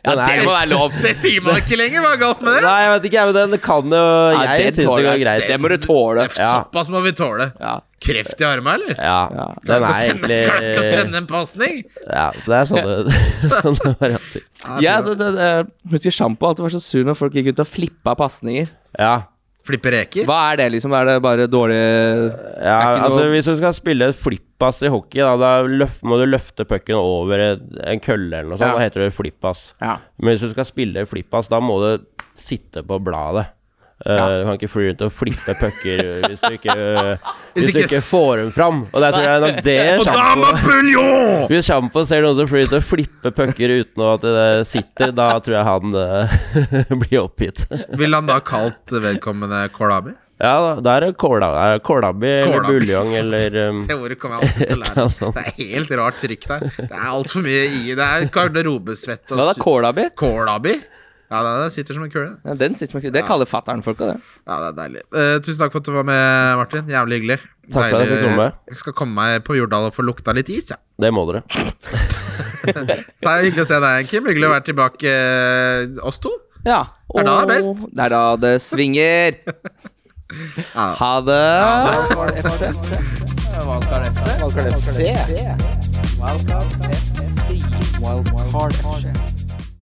S4: Det må være lov.
S3: Det sier man ikke lenger! Hva er galt med det?
S5: Nei, jeg vet ikke, jeg, men den kan jo
S4: Nei,
S5: Jeg
S4: det
S5: syns det
S4: tåler
S5: går
S4: jeg.
S5: greit. altså.
S4: Det må du tåle.
S5: Ja.
S3: Såpass må vi tåle.
S4: Ja.
S3: Kreft i armen, eller?
S5: ja,
S3: Klarer
S5: den
S3: ikke å
S5: er
S3: sende- klarer ikke å
S5: egentlig
S3: sende en pasning?
S5: Ja, så det er sånne, [laughs] sånne varianter.
S4: Ja, altså, det, det, husker Sjampo alltid var så sur når folk gikk ut og flippa pasninger.
S5: Ja.
S3: Flippe reker?
S4: Hva er det, liksom? Er det bare dårlig
S5: ja
S4: Det er ikke
S5: altså
S4: noe-
S5: Hvis du skal spille et flippass i hockey, da, da løf, må du løfte pucken over et- en kølle eller noe sånt.
S4: Ja.
S5: Da heter det flippass.
S4: Ja.
S5: Men hvis du skal spille flippass, da må du sitte på bladet. Eh, Du kan ikke fly rundt og flippe pucker
S3: [laughs]
S5: hvis du ikke, hvis du
S3: ikke-
S5: ikke får dem fram. Og der tror jeg nok det
S3: [laughs] Og da
S5: Sjampo-
S3: med buljong!
S5: Hvis Sjampo ser noen som flyr til å flippe pucker uten at det sitter, da tror jeg han eh, [laughs] blir oppgitt.
S3: Ville han da kalt vedkommende kålabi?
S5: Ja, da- da er det kåla- eh, kålabi eller
S3: Kålabi.
S5: buljong eller um,
S3: Det ordet kommer jeg aldri til å lære.
S5: [laughs] Ja, sant.
S3: Det er helt rart trykk der. Det er altfor mye i Det er garderobesvett
S4: Hva
S3: og
S4: da, kålabi?
S3: kålabi. Ja, det det sitter som en kule.
S4: Ja, den sitter man ikke Det kaller fatter'n folka, det.
S3: Ja, det er deilig. Eh, tusen takk for at du var med, Martin. Jævlig hyggelig.
S5: Takk for at jeg
S3: Deilig.
S5: fikk komme.
S3: Jeg skal komme meg på Jordal og få lukta litt is, jeg.
S5: Det må dere.
S3: [laughs] Det er hyggelig å se deg, Kim. Hyggelig å være tilbake, eh, oss to.
S4: Ja.
S3: er da
S4: Åh,
S3: det er best.
S4: Det er da det svinger. Ha det!
S2: Wildcard FC. Wildcard FC. Wildcard FC. Wildcard FC. Wildcard FC.